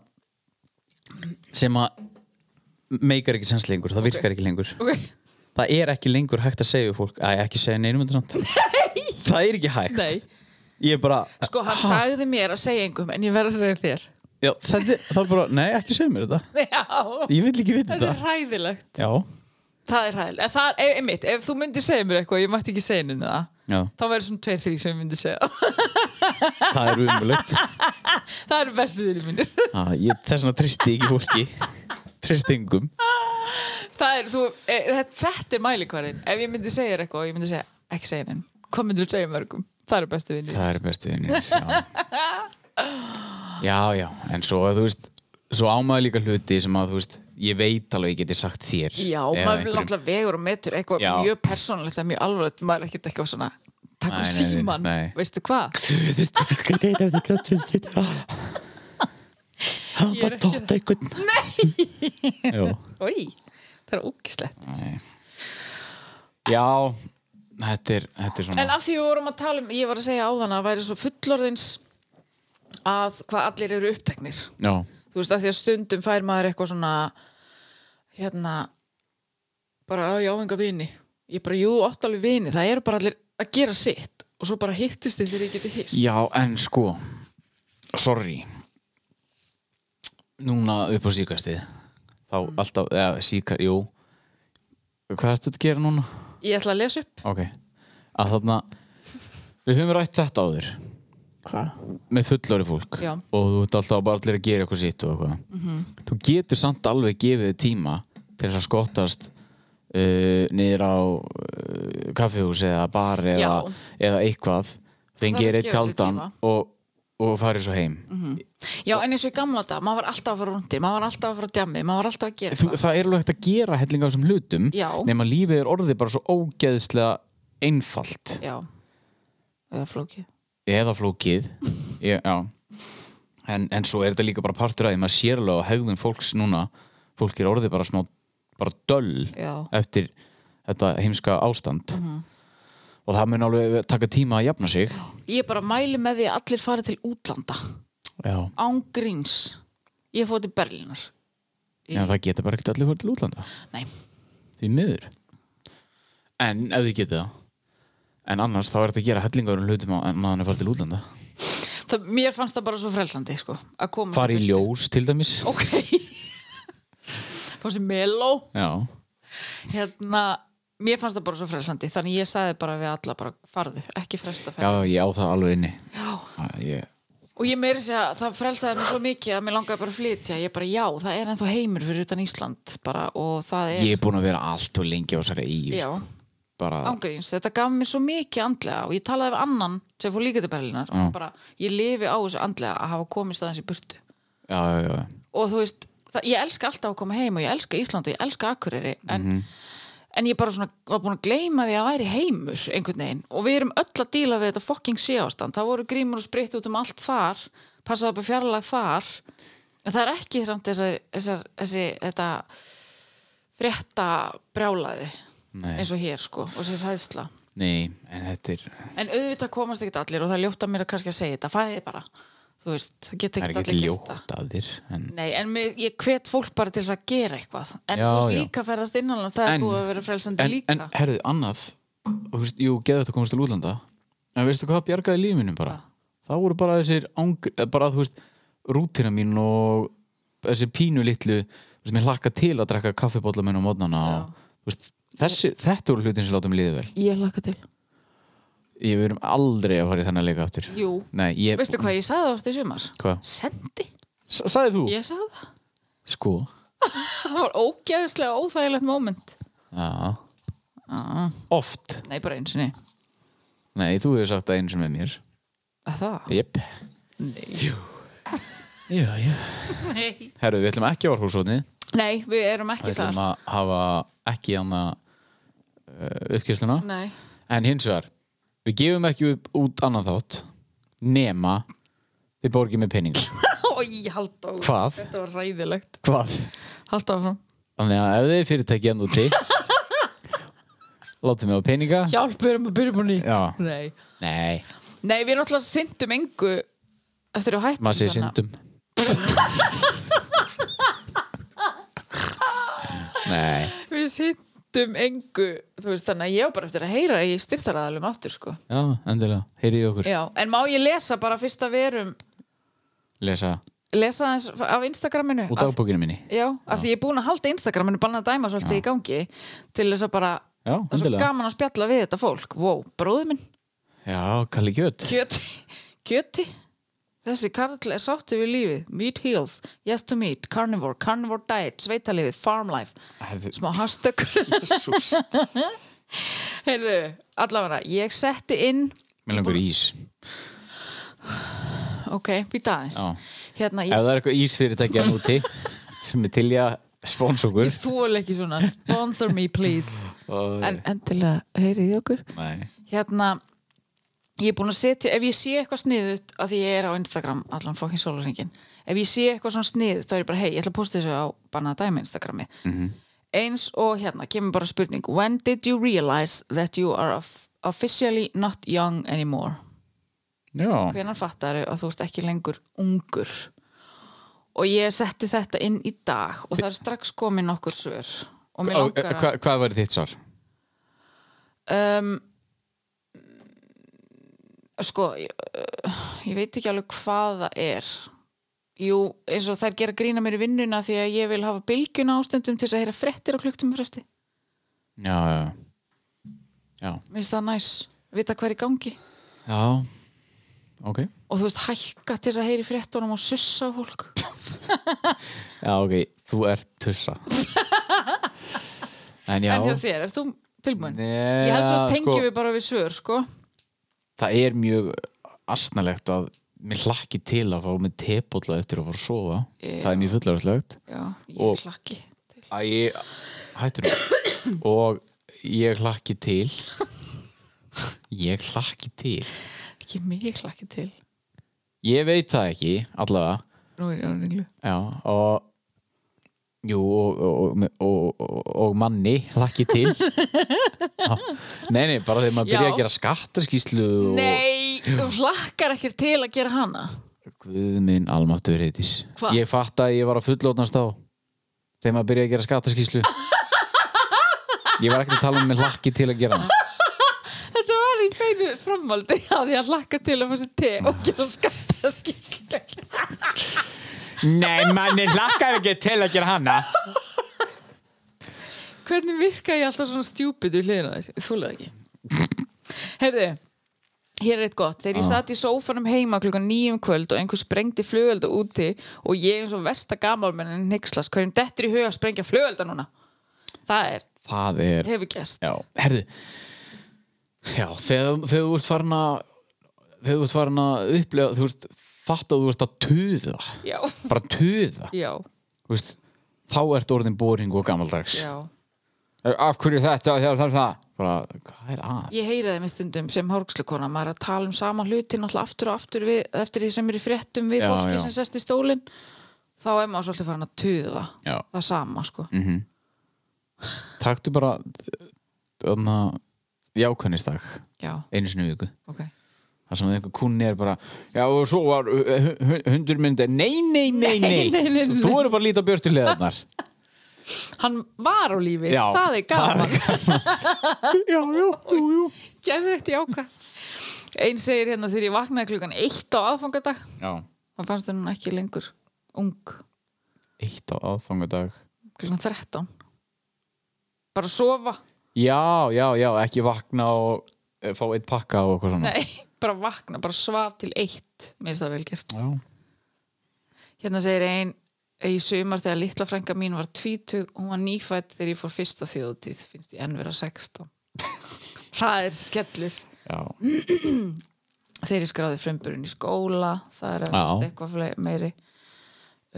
S3: sem að meikar ekki sens lengur, það virkar ekki lengur
S4: okay.
S3: Það er ekki lengur hægt að segja við fólk Æ, ekki segja neinum þetta samt Það er ekki hægt
S4: Nei.
S3: Ég er bara,
S4: Sko, hann sagði mér að segja engum en ég verð að segja þér
S3: já, það, það er bara Nei, ekki segja mér þetta
S4: Já,
S3: Ég vil ekki vita
S4: þetta er
S3: þetta
S4: hræðilegt
S3: Já,
S4: Það er hæðilegt. En það er, einmitt, ef þú myndir segja mér eitthvað, ég mætti ekki segja henni það,
S3: já,
S4: þá verður svona tveir, þrý sem ég myndi segja.
S3: það er umulegt
S4: það eru bestu vinir mínir.
S3: ah, ég, Þess vegna tristi ég ekki fólki Tristingum
S4: það er, þú, e, þetta- þetta er mælikvarinn. Ef ég myndi segja þér eitthvað, og ég myndi segja, ekki segja henni. Hvað myndir þú segja mörgum? Það eru bestu vinir.
S3: Það er bestu vinir já. já, já, en svo þú veist Svo ámaður líka hluti sem að þú veist Ég veit alveg ég geti sagt þér
S4: Já,
S3: eða
S4: maður vil
S3: einhverjum.
S4: náttúrulega vegur og metur eitthvað
S3: Já.
S4: mjög persónulegt, það er mjög alvarlegt, maður er ekkert eitthvað svona, takk um
S3: Nei, nei, nei,
S4: síman,
S3: nei.
S4: veistu hvað?
S3: hann
S4: Ég er
S3: bara
S4: ekki-
S3: dotta einhvern Nei
S4: Í, það er ógislegt.
S3: Já, þetta er, þetta er svona
S4: En af því við vorum að tala um, ég var að segja áðan að væri svo fullorðins að hvað allir eru
S3: Já,
S4: uppteknir. þú veist, af því að stundum fær maður eitthvað svona hérna bara, "Æ, ég á enga vini ég bara, jú, átt alveg vini, það eru bara allir að gera sitt og svo bara hittist þið þegar ég geti hist
S3: Já, en sko Sorry Núna upp á síkastið Þá alltaf, eða síkar, jú Hvað ertu að gera núna?
S4: ég ætla að lesa upp
S3: Ok Að þarna Við höfum rætt þetta áður
S4: Hva?
S3: með fullori fólk
S4: Já. Mhm.
S3: og þú ert alltaf bara allir að gera eitthvað sitt og eitthvað þú getur samt alveg gefið þér tíma til þess að skottast uh, niður á uh, kaffihús eða bar eða, eða eitthvað fengir
S4: að
S3: eitt
S4: gefa sér
S3: kaldan
S4: tíma. Mhm.
S3: og, og farið svo heim
S4: já, en eins og í gamla dag, maður var alltaf að fara rundir maður var alltaf að fara að djammi, maður var alltaf að gera
S3: þú,
S4: eitthvað
S3: það er alveg hægt að gera hellinga á þessum hlutum
S4: Já.
S3: nema lífið er orðið bara svo ógeðslega einfalt
S4: já, eða flóki
S3: eða flókið ég, já en, en svo er þetta líka bara partur að því maður sér alveg á hegðum fólks núna fólk er orðið bara smá bara döll
S4: Já.
S3: eftir þetta heimska ástand og það mun alveg taka tíma að jafna sig
S4: ég bara mæli með því að allir fari til útlanda
S3: já,
S4: án gríns ég fóði til Berlínar
S3: en það geta bara ekkert allir fyrir til útlanda
S4: nei,
S3: því miður en ef þið geta það en annars þá er þetta að gera hellingar um hlutum að maður er farið til útlanda
S4: það, mér fannst það bara svo frelsandi sko, að koma
S3: fara í
S4: burtu.
S3: ljós til dæmis
S4: ok fór sem meló
S3: já,
S4: hérna, mér fannst það bara svo frelsandi þannig ég sagði bara við alla bara farðu, ekki fresta ferð
S3: já, ég á það alveg inni já, ég
S4: og ég meiri segja að það frelsaði mig svo mikið að mér langaði bara að flytja, ég bara já það er ennþá heimur fyrir utan Ísland bara, og það er,
S3: Ég er búin að vera allt og lengi á þessari íu
S4: já,
S3: bara,
S4: ángríns þetta gaf mér svo mikið andlega og ég talaði við annan sem fór líka til Berlínar og hann bara, ég lifi á þessu andlega að hafa komist aðeins í burtu
S3: já, já, já. Mhm.
S4: og þú veist, það, ég elska alltaf að koma heim og ég elska Ísland og ég elska Akureyri en en ég bara svona var búin að gleyma því að væri heimur einhvern veginn og við erum öll að díla við þetta fucking séástand það voru grímur og spritt út um allt þar passaði upp að fjarlæg þar en það er ekki samt þessar, þessar, þessi þetta frétta brjálaði
S3: Nei.
S4: eins og hér sko og þessi hæðsla
S3: Nei, en þetta er
S4: en auðvitað komast ekki allir og það er ljótt að mér að kannski að segja þetta fæði bara, þú veist, það geta
S3: Það er
S4: ekki
S3: ekki
S4: allir gert það
S3: ljótt að þér en,
S4: Nei, en mér, ég hvet fólk bara til þess að gera eitthvað En
S3: Já,
S4: þú veist
S3: já.
S4: líka ferðast innanlands Það er
S3: En-
S4: búið að vera frelsandi
S3: en,
S4: líka
S3: en herðu, annað og þú veist, Jú, geðu þetta komast til útlanda En veistu hvað bjargaði lífinum bara Það voru bara þessir angri, eh, bara þú veist rútina mín og þessi pínu litlu, þú veist, mér hlakka til að drekka kaffibólla minn á mótnana og, þú veist, þessi, þetta voru hlutin sem látum liðið vel
S4: Ég laka til
S3: Ég verum aldrei að fara í þennan leika aftur
S4: Jú,
S3: Nei, ég,
S4: veistu hvað ég sagði ástu í sumar?
S3: Hvað?
S4: Sendi,
S3: S- Sagði þú?
S4: ég sagði það
S3: Sko
S4: Það var ógeðislega óþægilegt moment
S3: Já,
S4: ah,
S3: oft
S4: Nei, bara eins og ný
S3: Nei, þú hefur sagt það eins og með mér
S4: Það?
S3: Jep
S4: Nei.
S3: Já, já
S4: Nei.
S3: Herru, við ætlum ekki á orðhúsrótni
S4: Nei, við erum ekki
S3: Við ætlum
S4: þar
S3: að hafa ekki hann að uppkýrsluna
S4: Nei,
S3: En hins vegar, við gefum ekki upp út annan þátt nema við borgið með pening
S4: og ég haldi á
S3: Hvað?
S4: Þetta var ræðilegt
S3: Hvað?
S4: Haldi áfram
S3: Þannig að ef þið er fyrirtæki enn úti Látum við á peninga
S4: Hjálp, við erum að byrja mér nýtt
S3: Já.
S4: Nei.
S3: Nei,
S4: Nei, við erum alltaf syndum engu Eftir að hættum
S3: maður sé
S4: þarna.
S3: syndum Nei
S4: Við sittum engu þú veist, þannig að ég var bara eftir að heyra í styrtaraðalum aftur sko.
S3: Já, endilega, heyrið í okkur
S4: Já, en má ég lesa bara fyrst að verum
S3: Lesa
S4: lesa aðeins af Instagraminu
S3: út
S4: af,
S3: dagbókinu minni
S4: Já, af því ég er búin að halda Instagraminu banna að dæma svolítið í gangi til þess að bara
S3: Já,
S4: það er svo
S3: endilega
S4: gaman að spjalla við þetta fólk Vó, bróður minn,
S3: Já, Kalli Kjöt
S4: kjöti kjöti Þessi karl er sáttu við lífið, meat heals, yes to meat, carnivore, carnivore diet, sveitalífið, farm life,
S3: Herðu,
S4: smá hashtag.
S3: Jesus
S4: Heyrðu, allavega, ég setti inn
S3: Mér langur í ís
S4: Ok, býta aðeins
S3: Já.
S4: Hérna,
S3: Ef
S4: ég
S3: það er eitthvað ísfyrirtækja núti sem er til í að spóns okkur
S4: þól ekki svona Sponsor me please
S3: Ó,
S4: En endilega, heyrið í okkur
S3: Nei
S4: Hérna, ég er búin að setja Ef ég sé eitthvað sniðut að því ég er á Instagram allan fókin sólarringin Ef ég sé eitthvað svona sniðut, þá er ég bara Hei, ég ætla að posta þessu á Bannaða dæmi Instagrami
S3: Mhm.
S4: -hmm. Eins og hérna, kemur bara spurning When did you realize that you are of- officially not young anymore?
S3: Já,
S4: hvenan fattaru að þú ert ekki lengur ungur og ég setti þetta inn í dag og það er strax komin nokkur svör og mér
S3: Ó,
S4: langar
S3: eh, hva, hvað var þitt svar?
S4: að um, sko ég, uh, ég veit ekki alveg hvað það er jú, eins og þær gera grína mér í vinnuna því að ég vil hafa bylgjuna ástundum til þess að heyra frettir á klukktum fresti
S3: Já, já Já,
S4: mér finnst það næs, vita hver í gangi
S3: já. ok
S4: og þú veist hækka til þess að heyri frettunum og sussa á fólk
S3: Já, ok, þú ert tussa En já
S4: en hjá þér, ert þú tilbúin?
S3: Nei,
S4: ég held svo
S3: ja,
S4: tengjum
S3: sko-
S4: við bara við svör sko.
S3: það er mjög asnalegt að mér hlakki til að fá mig tepólla eftir að fara að sofa það er mjög fullarslegt
S4: já, ég
S3: Og-
S4: hlakki til.
S3: að ég hættur nú og ég hlakki til ég hlakki til
S4: ekki mig hlakki til
S3: ég veit það ekki allavega
S4: nú er ég á ringlu
S3: já, og jú og, og, og, og, og manni hlakki til Já. nei nei bara þegar maður
S4: Já.
S3: byrja að gera skattaskýslu og
S4: nei, þú hlakkar ekki til að gera hana
S3: Guð minn almáttur heitis
S4: Hva?
S3: Ég fatt að ég var að fullótnast á þegar maður byrjaði að gera skattaskíslu Ég var ekki að tala um með hlakki til að gera það
S4: þetta var í beinu framvaldi að ég hlakka til að fá sér te og gera skattaskýslu
S3: Nei, manni hlakkar ekki til að gera hana
S4: hvernig virka ég alltaf svona stjúpid við hliðina þessi, þú leð ekki heyrðu Hér er eitt gott, þegar
S3: Ah.
S4: ég satt í sófanum heima klukkan nýjum kvöld og einhver sprengdi flugölda úti og ég eins og versta gamalmennin nixlas, hverjum dettur í huga að sprengja flugölda núna? Það er,
S3: Það er,
S4: hefur gæst.
S3: já, herðu Já, þegar, þegar þú ert farin að þegar þú ert farin að upplega þú ert fatt að þú ert að tuða
S4: Já,
S3: bara tuða
S4: já,
S3: Þú veist, þá ert orðin boring og gammaldags
S4: já.
S3: af hverju þetta og þegar það það bara, hvað er að?
S4: Ég heyri það með stundum sem hórgslukona maður er að tala um sama hluti náttúrulega aftur og aftur við, eftir því sem er í fréttum við
S3: Já,
S4: fólki
S3: já.
S4: sem sest í stólinn þá er maður svolítið farin að tuða
S3: Já.
S4: það sama sko
S3: Mm Taktu bara eh, þarna jákvæðnistak
S4: Já,
S3: einu sinni í viku
S4: ok
S3: þar sem einhver kunni er bara já og svo var uh, hu- hu- hundur myndi nei nei nei nei,
S4: Nei, nei, nei, nei.
S3: þú eru bara að líta björtu leðarnar
S4: Hann var á lífi,
S3: Já,
S4: það er gaman
S3: já já jú, jú.
S4: Gæður ekkert í ákvæð Einn segir hérna þegar ég vaknaði klukkan eitt á aðfangadag
S3: já
S4: og fannst það núna ekki lengur ung
S3: eitt á aðfangadag
S4: klukkan 13 bara að sofa
S3: já já já ekki vakna og eh, fá eitt pakka og eitthvað svona
S4: Nei, bara vakna, bara svaf til eitt minnst það vel gert
S3: já
S4: Hérna segir ein í sumar þegar litla frænka mín var tvítug hún var nýfætt þegar ég fór fyrsta þjóðutíð finnst ég enn vera 16 það er skellur
S3: já
S4: þegar ég skráði frumburinn í skóla það er
S3: Já.
S4: eflaust eitthvað fle- meiri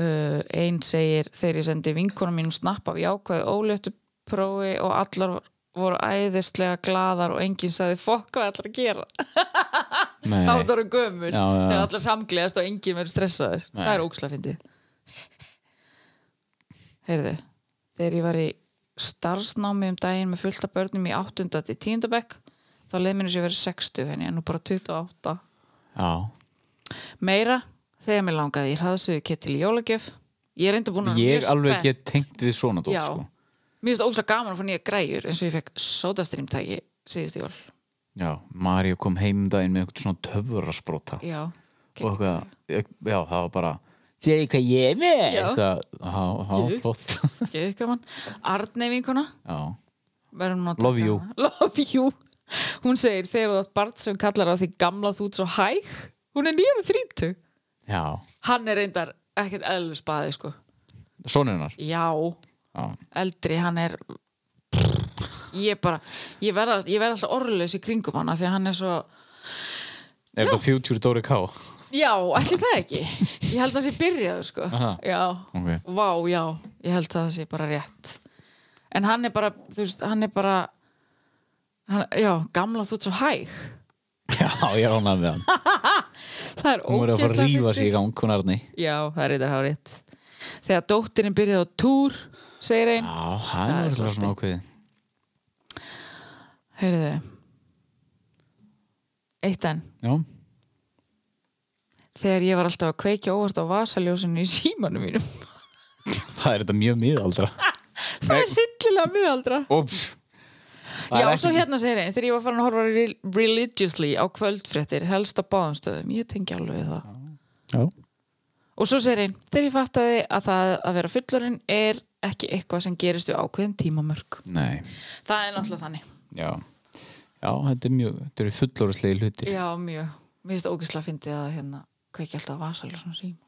S4: uh, ein segir þegar ég sendi vinkonum mínum snapp af jákvæðu ólötu prófi og allar voru æðislega glaðar og enginn sagði fokk hvað ætlar að gera
S3: nei
S4: þá það eru gömur
S3: Já, já, já.
S4: þegar allar samgleðast og enginn verður stressaður
S3: Nei.
S4: það er ókslega fyndið heyrðu þegar ég var í starfsnámi um daginn með fullta börnum í 8. til 10. bekk þá leið mér eins og ég verið 60 henni en nú bara 28
S3: já
S4: meira þegar mér langaði ég hraðsöðu kettil í jólagjöf ég er enda búin að vera
S3: ég
S4: mjög
S3: alveg
S4: spennt.
S3: get tengt við svona dót
S4: Já.
S3: sko
S4: mér finnst ókslega gaman að fá nýja græjur eins og ég fekk sódastrýmtæki síðust jól
S3: já Mario kom heim um daginn með eitthvað svona töfurasprota
S4: já,
S3: og eitthvað já það var bara séu hvað ég er með
S4: Já.
S3: eitthvað já já flott
S4: geðið gaman Arnei vinkona
S3: já
S4: verðum nú að
S3: Love
S4: taka
S3: you.
S4: hana. Love you Hún segir þegar þú átt barn sem kallar á því gamla þú ert svo hæg Hún er nýjum þrítu
S3: já
S4: Hann er reyndar ekkert eðlu spaði sko
S3: sonunar
S4: Já,
S3: já
S4: eldri, hann er Ég bara Ég verð, ég verð alltaf orðlaus í kringum hana því að hann er svo
S3: Er þetta Future Dóri K?
S4: Já, ætli það ekki Ég held að það sé byrjaður sko
S3: Aha.
S4: Já,
S3: Ok.
S4: vá, já Ég held að það sé bara rétt En hann er bara, þú veist, hann er bara hann, Já, gamla þú ert svo hæg
S3: Já, ég er ánægð með hann.
S4: Það er
S3: Hún er að fara að
S4: ógeðslega
S3: rífa sig í
S4: fyndið.
S3: gang, hún Arni.
S4: Já, það er eitthvað rétt Þegar dóttirin byrjaði á túr segir einn,
S3: Já, hann
S4: er
S3: er
S4: svolítið.
S3: svona ákveðið.
S4: heyrðu Eitt enn
S3: Já,
S4: Þegar ég var alltaf að kveikja óvart á vasaljósinu í símanum mínum
S3: það er þetta mjög miðaldra.
S4: Það er hryllilega miðaldra
S3: Úps.
S4: Já, svo hérna segir einn, þegar ég var farin að horfa re- religiously á kvöldfréttir helst á báðumstöðum, ég tengi alveg við það
S3: Já,
S4: Og svo segir einn, þegar ég fattaði að það að vera fullorinn er ekki eitthvað sem gerist við ákveðin tímamörk
S3: nei.
S4: Það er náttúrulega þannig
S3: Já. Já, þetta er mjög, þetta eru fullorðslegi hluti.
S4: Já, mjög. Mér finnst ógislega fyndið að hérna kveikja alltaf vasaljós svona síma.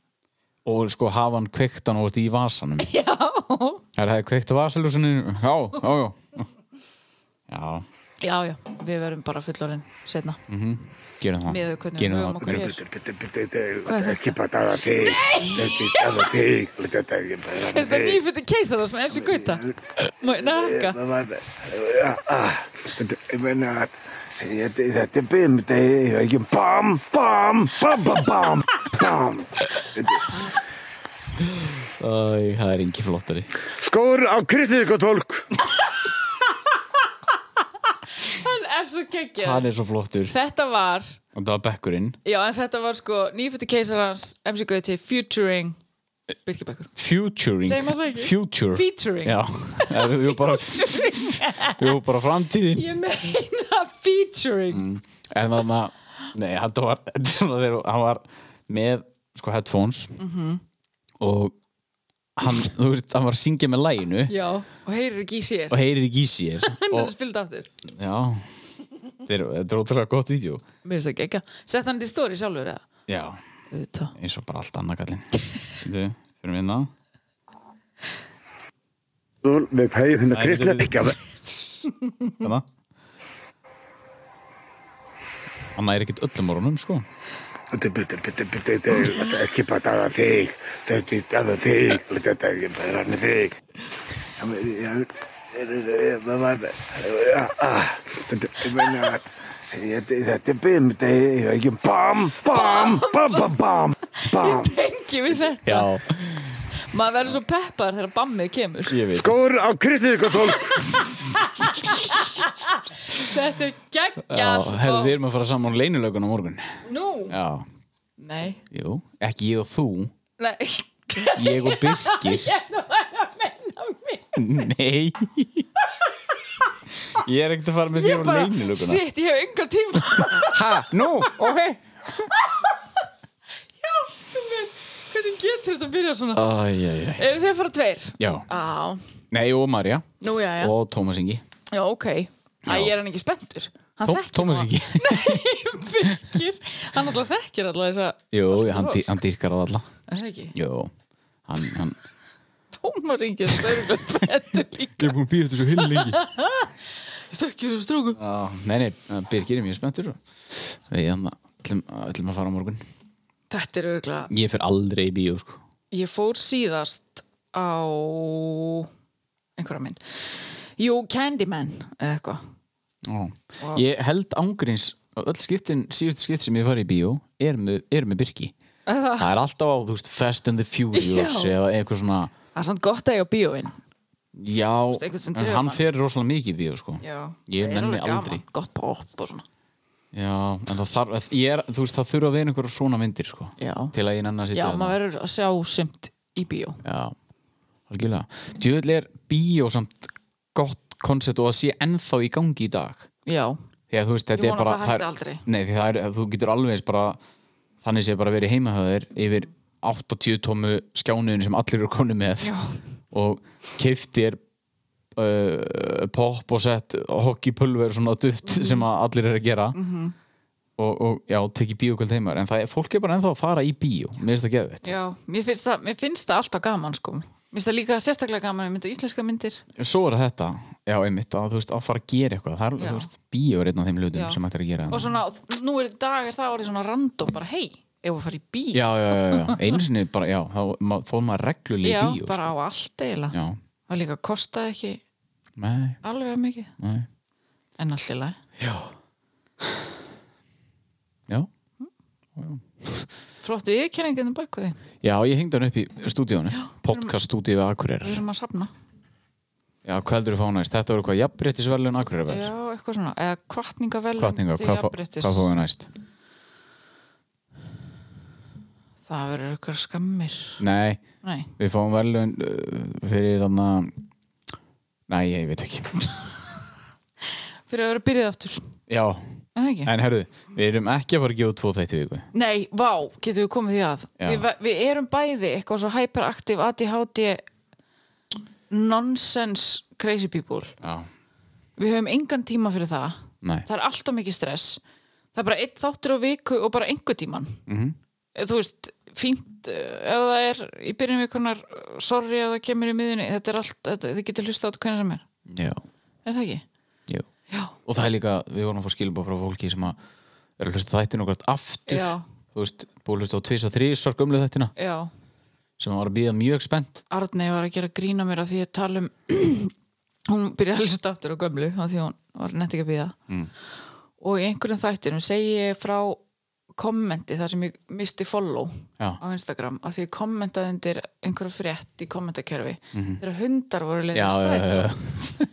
S3: Og sko hafa hann kveikt hann út í vasanum.
S4: Já.
S3: Er það kveikt á vasaljósinu? Já, já, já. Já,
S4: Já, já, við verðum bara fullorinn setna.
S3: Mm. gerum það.
S4: Miðað við hvernig við
S3: Gerum
S4: höfum
S3: það.
S4: okkur hér.
S5: Hvað er þetta? Nei! Ekki bara þig. Þetta er ekki bara
S4: Er þetta nýfundi keisara sem efsi gauta? Má ég nakka?
S5: Ah, nýtt? Ég meina að þetta þetta er bim, þetta er ekki bam, bam, bam, bam, bam, bam.
S3: Æ, það er engi flottari.
S5: Skór á kristiðik og tólk.
S4: Hann er svo geggjað.
S3: Hann er svo flottur.
S4: Þetta var,
S3: Og það var bekkurinn.
S4: já, en þetta var sko nýfundi keisarans efsi gauti featuring Birkibækur.
S3: Futuring
S4: Segir maður það ekki?
S3: Future
S4: Featuring.
S3: Já, það er jú bara, jú bara framtíðin
S4: Ég meina featuring.
S3: Mm. En þannig að Nei, hann var, þetta er svona, þegar hann var með sko headphones
S4: Mhm.
S3: og hann, þú veist, hann var að syngja með læginu
S4: Já, og heyrir ekki í sér.
S3: og heyrir ekki í sér
S4: Hann er
S3: og,
S4: að spila þetta aftur.
S3: Já Þetta er- þetta er ótrúlega gott vídeo
S4: Mér finnst það geggjað. Sett hann til stóri sjálfur eða?
S3: Já,
S4: Þetta.
S3: eins og bara allt annað kallinn Þú, fyrir minna
S5: Með pæði finna
S3: Nei, þetta er-
S5: kristið ekki að
S3: Þannig að Hann er ekkert öllum orðunum, sko
S5: Þetta er- þetta er- þetta er þetta er ekki bara eh, þig. Þetta er ekki bara þig. Þetta er ekki bara þig. Ég- ég- eh, ah, eh, Þetta er bim, þetta er ekki bam, bam, bam, bam, bam, bam.
S4: Engi við þetta
S3: Já,
S4: Maður verður svo peppar þegar bammið kemur
S3: ég veit
S5: Skór á kristiðskotól.
S4: Þetta er
S3: Já,
S4: geggjað
S3: hefði
S4: og-
S3: við erum að fara saman á leynilögun á morgun
S4: Nú,
S3: Já,
S4: nei,
S3: jú, ekki ég og þú
S4: nei
S3: Ég og Birgir Nei Ég er ekkert að fara með
S4: Ég
S3: þér á
S4: bara,
S3: leynilöguna
S4: shit, ég hef enga tíma
S3: Ha, nú, ok
S4: Hjálptu mér, hvernig getur þetta að byrja svona
S3: Æ, æ, æ
S4: Eru þið að fara tveir?
S3: Já,
S4: Á,
S3: nei og Marja
S4: nú já, já,
S3: og Tómas Ingi
S4: já, ok Æ, ég er hann ekki spenntur Hann
S3: Tó-
S4: þekkir
S3: Tómas
S4: nú-
S3: Ingi
S4: Nei, virkir Hann alltaf þekkir alltaf þess að
S3: Jú, hann, dý- hann dýrkar að alla
S4: Það ekki,
S3: Jú, hann, hann
S4: Tómas Ingi Það er örugglega betur líka
S3: er búin að býja þetta svo heil lengi
S4: Þekkir þú strókum
S3: Nei, nei, Birgir er mjög spenntur og Við hann ætlum, ætlum að fara á morgun
S4: Þetta er örgulega
S3: Ég fer aldrei í bíó, sko
S4: Ég fór síðast á einhverja mynd Jú, Candyman eða eitthvað
S3: Já. Ég held ángurins öll skiptin, síðustu skipt sem ég fari í bíó er með, er með Birki Það er alltaf á, þú veist, Fast and the Furious
S4: Já.
S3: eða eitthvað svona
S4: Það er samt gott að ég á bíóin
S3: Já,
S4: eitthvað sem
S3: en
S4: dregur
S3: hann
S4: mann.
S3: fer rosalega mikið í bíó, sko
S4: Já,
S3: Ég
S4: það er
S3: nenni
S4: alveg gaman,
S3: aldrei.
S4: Gott pop og svona
S3: Já, en það þarf, að- ég er, þú veist, það þurfa að vera einhverja svona myndir, sko
S4: Já.
S3: Til að ég nenni að
S4: Já,
S3: sitja þarna.
S4: maður verður að sjá sumt í bíó
S3: Já, algjörlega Djöðl er bíó samt gott koncept og að sé ennþá í gangi í dag
S4: Já,
S3: Því að þú veist, þetta er
S4: Ég vona
S3: bara
S4: að það hætti aldrei.
S3: Nei, því það er, þú getur alveg eins bara Þannig sé bara verið heimahöður yfir 80 tómu skjánuðin sem allir eru konu með Já. og keftir uh, pop og sett hockeypulver svona duft
S4: Mhm.
S3: sem að allir eru að gera -hmm. og, og já, tekið bíókvöld heimar en það er, fólk er bara ennþá að fara í bíó mér finnst það geðvett
S4: já, mér finnst það, mér finnst það alltaf gaman sko Mér finnst það líka sérstaklega gaman að mynda íslenska myndir
S3: svo er þetta, já einmitt að þú veist, að fara að gera eitthvað, það er,
S4: Já.
S3: þú veist, bíó er einn af þeim hlutum
S4: Já.
S3: sem ættir að gera
S4: Og svona, nú er í dag er það orðið svona random bara, hei, ef að fara í bíó
S3: já, já, já, já, einu sinni bara, já, þá ma- fór maður reglulega
S4: Já,
S3: í bíó sko.
S4: bara á allt eiginlega
S3: já,
S4: Það líka kostaði ekki
S3: nei,
S4: alveg mikið
S3: nei
S4: En allt í lagi
S3: já já,
S4: Flott viðkenningin um bakku því.
S3: já, ég hengdi hann upp í stúdíónu podcast stúdíu við Akureyrar
S4: Við erum að safna.
S3: já, hvað heldur þú fá næst, þetta voru hvað jafnbrettisverlun
S4: Já,
S3: Akureyrar
S4: eitthvað svona. Eða kvartningavelun
S3: hvatninga,
S4: til
S3: hvað, fá-
S4: jafnréttis.
S3: hvað fóðu næst
S4: Það verður eitthvað skammir.
S3: nei,
S4: Nei.
S3: við fáum verlun uh, fyrir hann að nei, ég veit ekki
S4: Fyrir að vera byrjuð aftur.
S3: já,
S4: Er Það ekki?
S3: en herru, við erum ekki að fara að gefa út tvo þætti í viku
S4: Nei, vá, getum við komið því að.
S3: Já.
S4: Við, við erum bæði eitthvað svo hyperaktiv, ADHD, nonsense crazy people.
S3: já,
S4: Við höfum engan tíma fyrir það.
S3: nei,
S4: Það er alltaf mikið stress. Það er bara einn þáttur á viku og bara einhver tíman.
S3: mhm
S4: þú veist, fínt eh, ef það er í byrjun vikunar eh, sorry ef það kemur í miðunni, þetta er allt þetta, þið getur hlusta á þetta hvernig sem er,
S3: já,
S4: er það ekki?
S3: jú
S4: Já,
S3: og það er líka, við vorum að fá skilbá frá fólki sem að er að hlusta þættin okkur aftur
S4: Já.
S3: þú veist, búið að hlusta á tvis og þrís svar gömlu þættina,
S4: já,
S3: sem var að býða mjög spennt
S4: Arnei var að gera grína mér af því að tala um hún byrjaði að hlusta aftur á gömlu af því að hún var nett ekki að býða mm. og í einhverjum þættinum segi ég frá kommenti þar sem ég misti follow
S3: Já.
S4: á Instagram af því ég kommentaði undir einhverja frétt í kommentakerfi
S3: Mhm.
S4: þegar hundar voru leiðið að stræta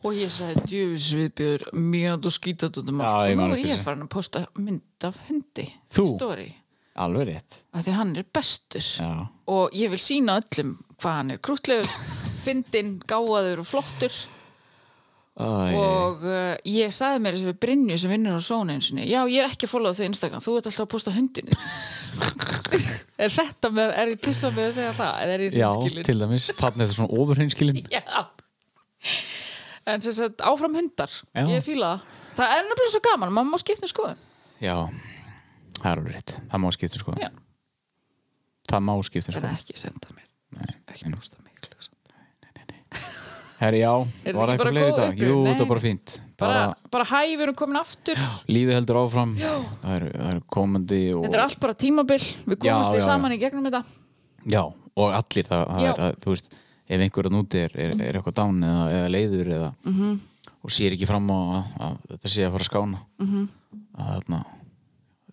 S4: Og ég sagði, djöfis viðbjör, mjög og skýtat út um
S3: Já,
S4: allt.
S3: ég
S4: Og
S3: man
S4: nú er
S3: eftir
S4: ég
S3: þessu.
S4: farin að posta mynd af hundi.
S3: Þú?
S4: Story.
S3: alveg rétt
S4: Af því hann er bestur.
S3: já,
S4: Og ég vil sína öllum hvað hann er krútlegur, fyndinn, gáðaður og flottur.
S3: Æ,
S4: Og uh, ég sagði mér þessu við Brynju sem vinnur á Sóni eins og niður. Já, ég er ekki að followa þau á Instagram. Þú ert alltaf að posta hundinu. er þetta með, er ég tussa með að segja það? Eða er ég
S3: já,
S4: hreinskilin?
S3: til dæmis þarna er þetta svona ofurheinskilin
S4: Já En sem sagt, áfram hundar
S3: Já.
S4: Ég fíla það Það er nefnilega svo gaman, maður má skipta um skoðun
S3: já, það er alveg rétt það má skipta sko
S4: Já.
S3: það má skipta
S4: En
S3: sko
S4: ekki senda mér
S3: Nei.
S4: Ekki posta mig klukkan.
S3: herri já,
S4: þetta
S3: var
S4: ekki bara
S3: eitthvað fleiri í
S4: góð
S3: dag
S4: upplifun?
S3: jú,
S4: Nei.
S3: það var bara fínt bara,
S4: Bara, bara hæ, við erum komin aftur
S3: lífið heldur áfram það eru er komandi og,
S4: Þetta er allt bara tímabil Við
S3: Já,
S4: komumst
S3: já,
S4: því
S3: já.
S4: saman í gegnum þetta
S3: já, og allir það, það
S4: Já.
S3: er, að, þú veist ef einhverjum úti er, er, er eitthvað dán eða, eða leiður eða, -hmm.
S4: Mhm.
S3: og sér ekki fram á að, að þetta sé að fara að skána -hmm.
S4: Mhm.
S3: að þarna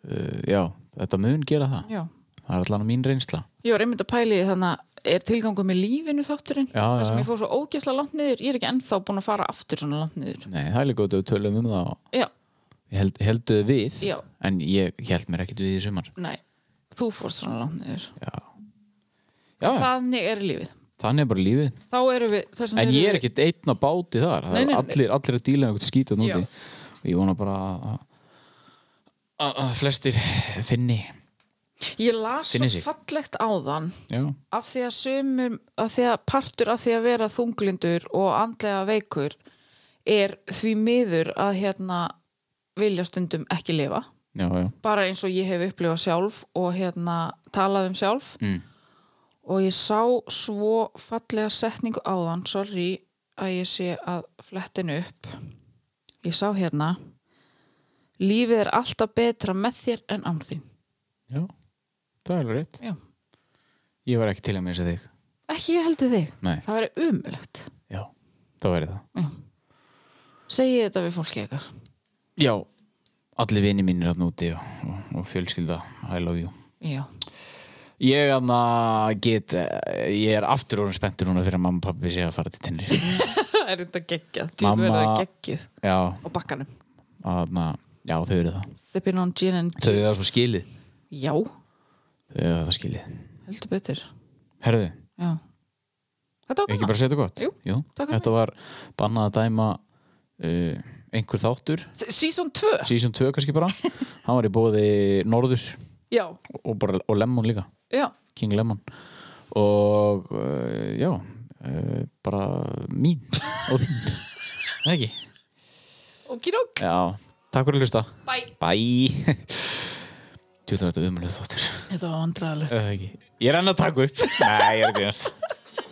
S3: uh, já, þetta mun gera það
S4: Já.
S3: það er allan mín reynsla
S4: Ég var einmitt að pæli þannig að er tilgangu með lífinu þátturinn
S3: Já,
S4: það
S3: já,
S4: sem
S3: já.
S4: ég fór svo ógæsla langt niður ég er ekki ennþá búin að fara aftur svona langt niður
S3: nei, það er líka út að við tölum um það og
S4: Já,
S3: held, helduðu við
S4: Já.
S3: en ég held mér ekkert við í sumar
S4: nei, þú fórst svona langt niður
S3: já, já
S4: Þannig er lífið
S3: þannig er bara lífið
S4: Þá erum við þess vegna
S3: en
S4: erum
S3: ég er
S4: við-
S3: ekkert einn á báti þar
S4: Nei,
S3: nei,
S4: nei, nei.
S3: Allir, allir að díla um einhvern skítið
S4: Já.
S3: núti og ég vona bara að- að að flestir finni
S4: Ég las
S3: Finni
S4: svo
S3: sig.
S4: fallegt áðan
S3: já,
S4: af því að sumum af því að partur af því að vera þunglindur og andlega veikur er því miður að hérna vilja stundum ekki lifa
S3: já, já,
S4: bara eins og ég hef upplifað sjálf og hérna talað um sjálf
S3: Mm.
S4: og ég sá svo fallega setningu áðan sorry að ég sé að flettin upp ég sá hérna lífið er alltaf betra með þér en án þín
S3: já það er alveg rétt
S4: Já.
S3: ég var ekki til að missa þig
S4: ekki ég heldur þig
S3: Nei.
S4: það væri umulegt
S3: já, það væri það
S4: Segji þetta við fólki ykkar.
S3: já, allir vini mínir hann úti og, og, og fjölskylda I love you
S4: Já.
S3: ég, anna, get, eh, ég er aftur orðin spenntur núna fyrir að mamma og pappi sé að fara til tennir
S4: Það er þetta geggjað. Dýr
S3: Mamma-
S4: verða geggjuð
S3: já,
S4: á bakkanum.
S3: anna, já, þau eru það
S4: Sippin on gin and
S3: þau
S4: juice.
S3: eru það svo skilið
S4: Já,
S3: þau eru það skilið
S4: heldur betur.
S3: herðu,
S4: Já. Þetta var
S3: ekki
S4: gaman.
S3: bara að segja þetta gott
S4: Jú, takk fyrir
S3: þetta var bannað að dæma uh, einhver þáttur
S4: Þ- Season 2.
S3: season 2 kannski bara hann var í bóði Norður
S4: Já,
S3: og, bara, og Lemon líka,
S4: já.
S3: King Lemon og uh, já uh, bara mín og þín, Nei, ekki
S4: Okidok.
S3: já, takk fyrir að hlusta
S4: Bye.
S3: bye tjóðan þetta umhverfið þáttur
S4: Þetta var vandræðilegt.
S3: Eða ekki. ég er enn að taka upp nei, ég er ekki að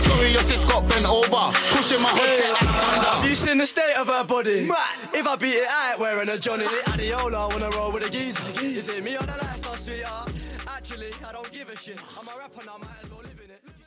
S6: sorry, your sis got bent over. Pushing my hood to Anaconda.
S2: Have you seen the state of her body? If I beat it out wearing a Johnny Adiola, wanna roll with a geezer. Is it me or the lifestyle sweetheart? Actually, I don't give a shit. I'm a rapper now, might as well live in it.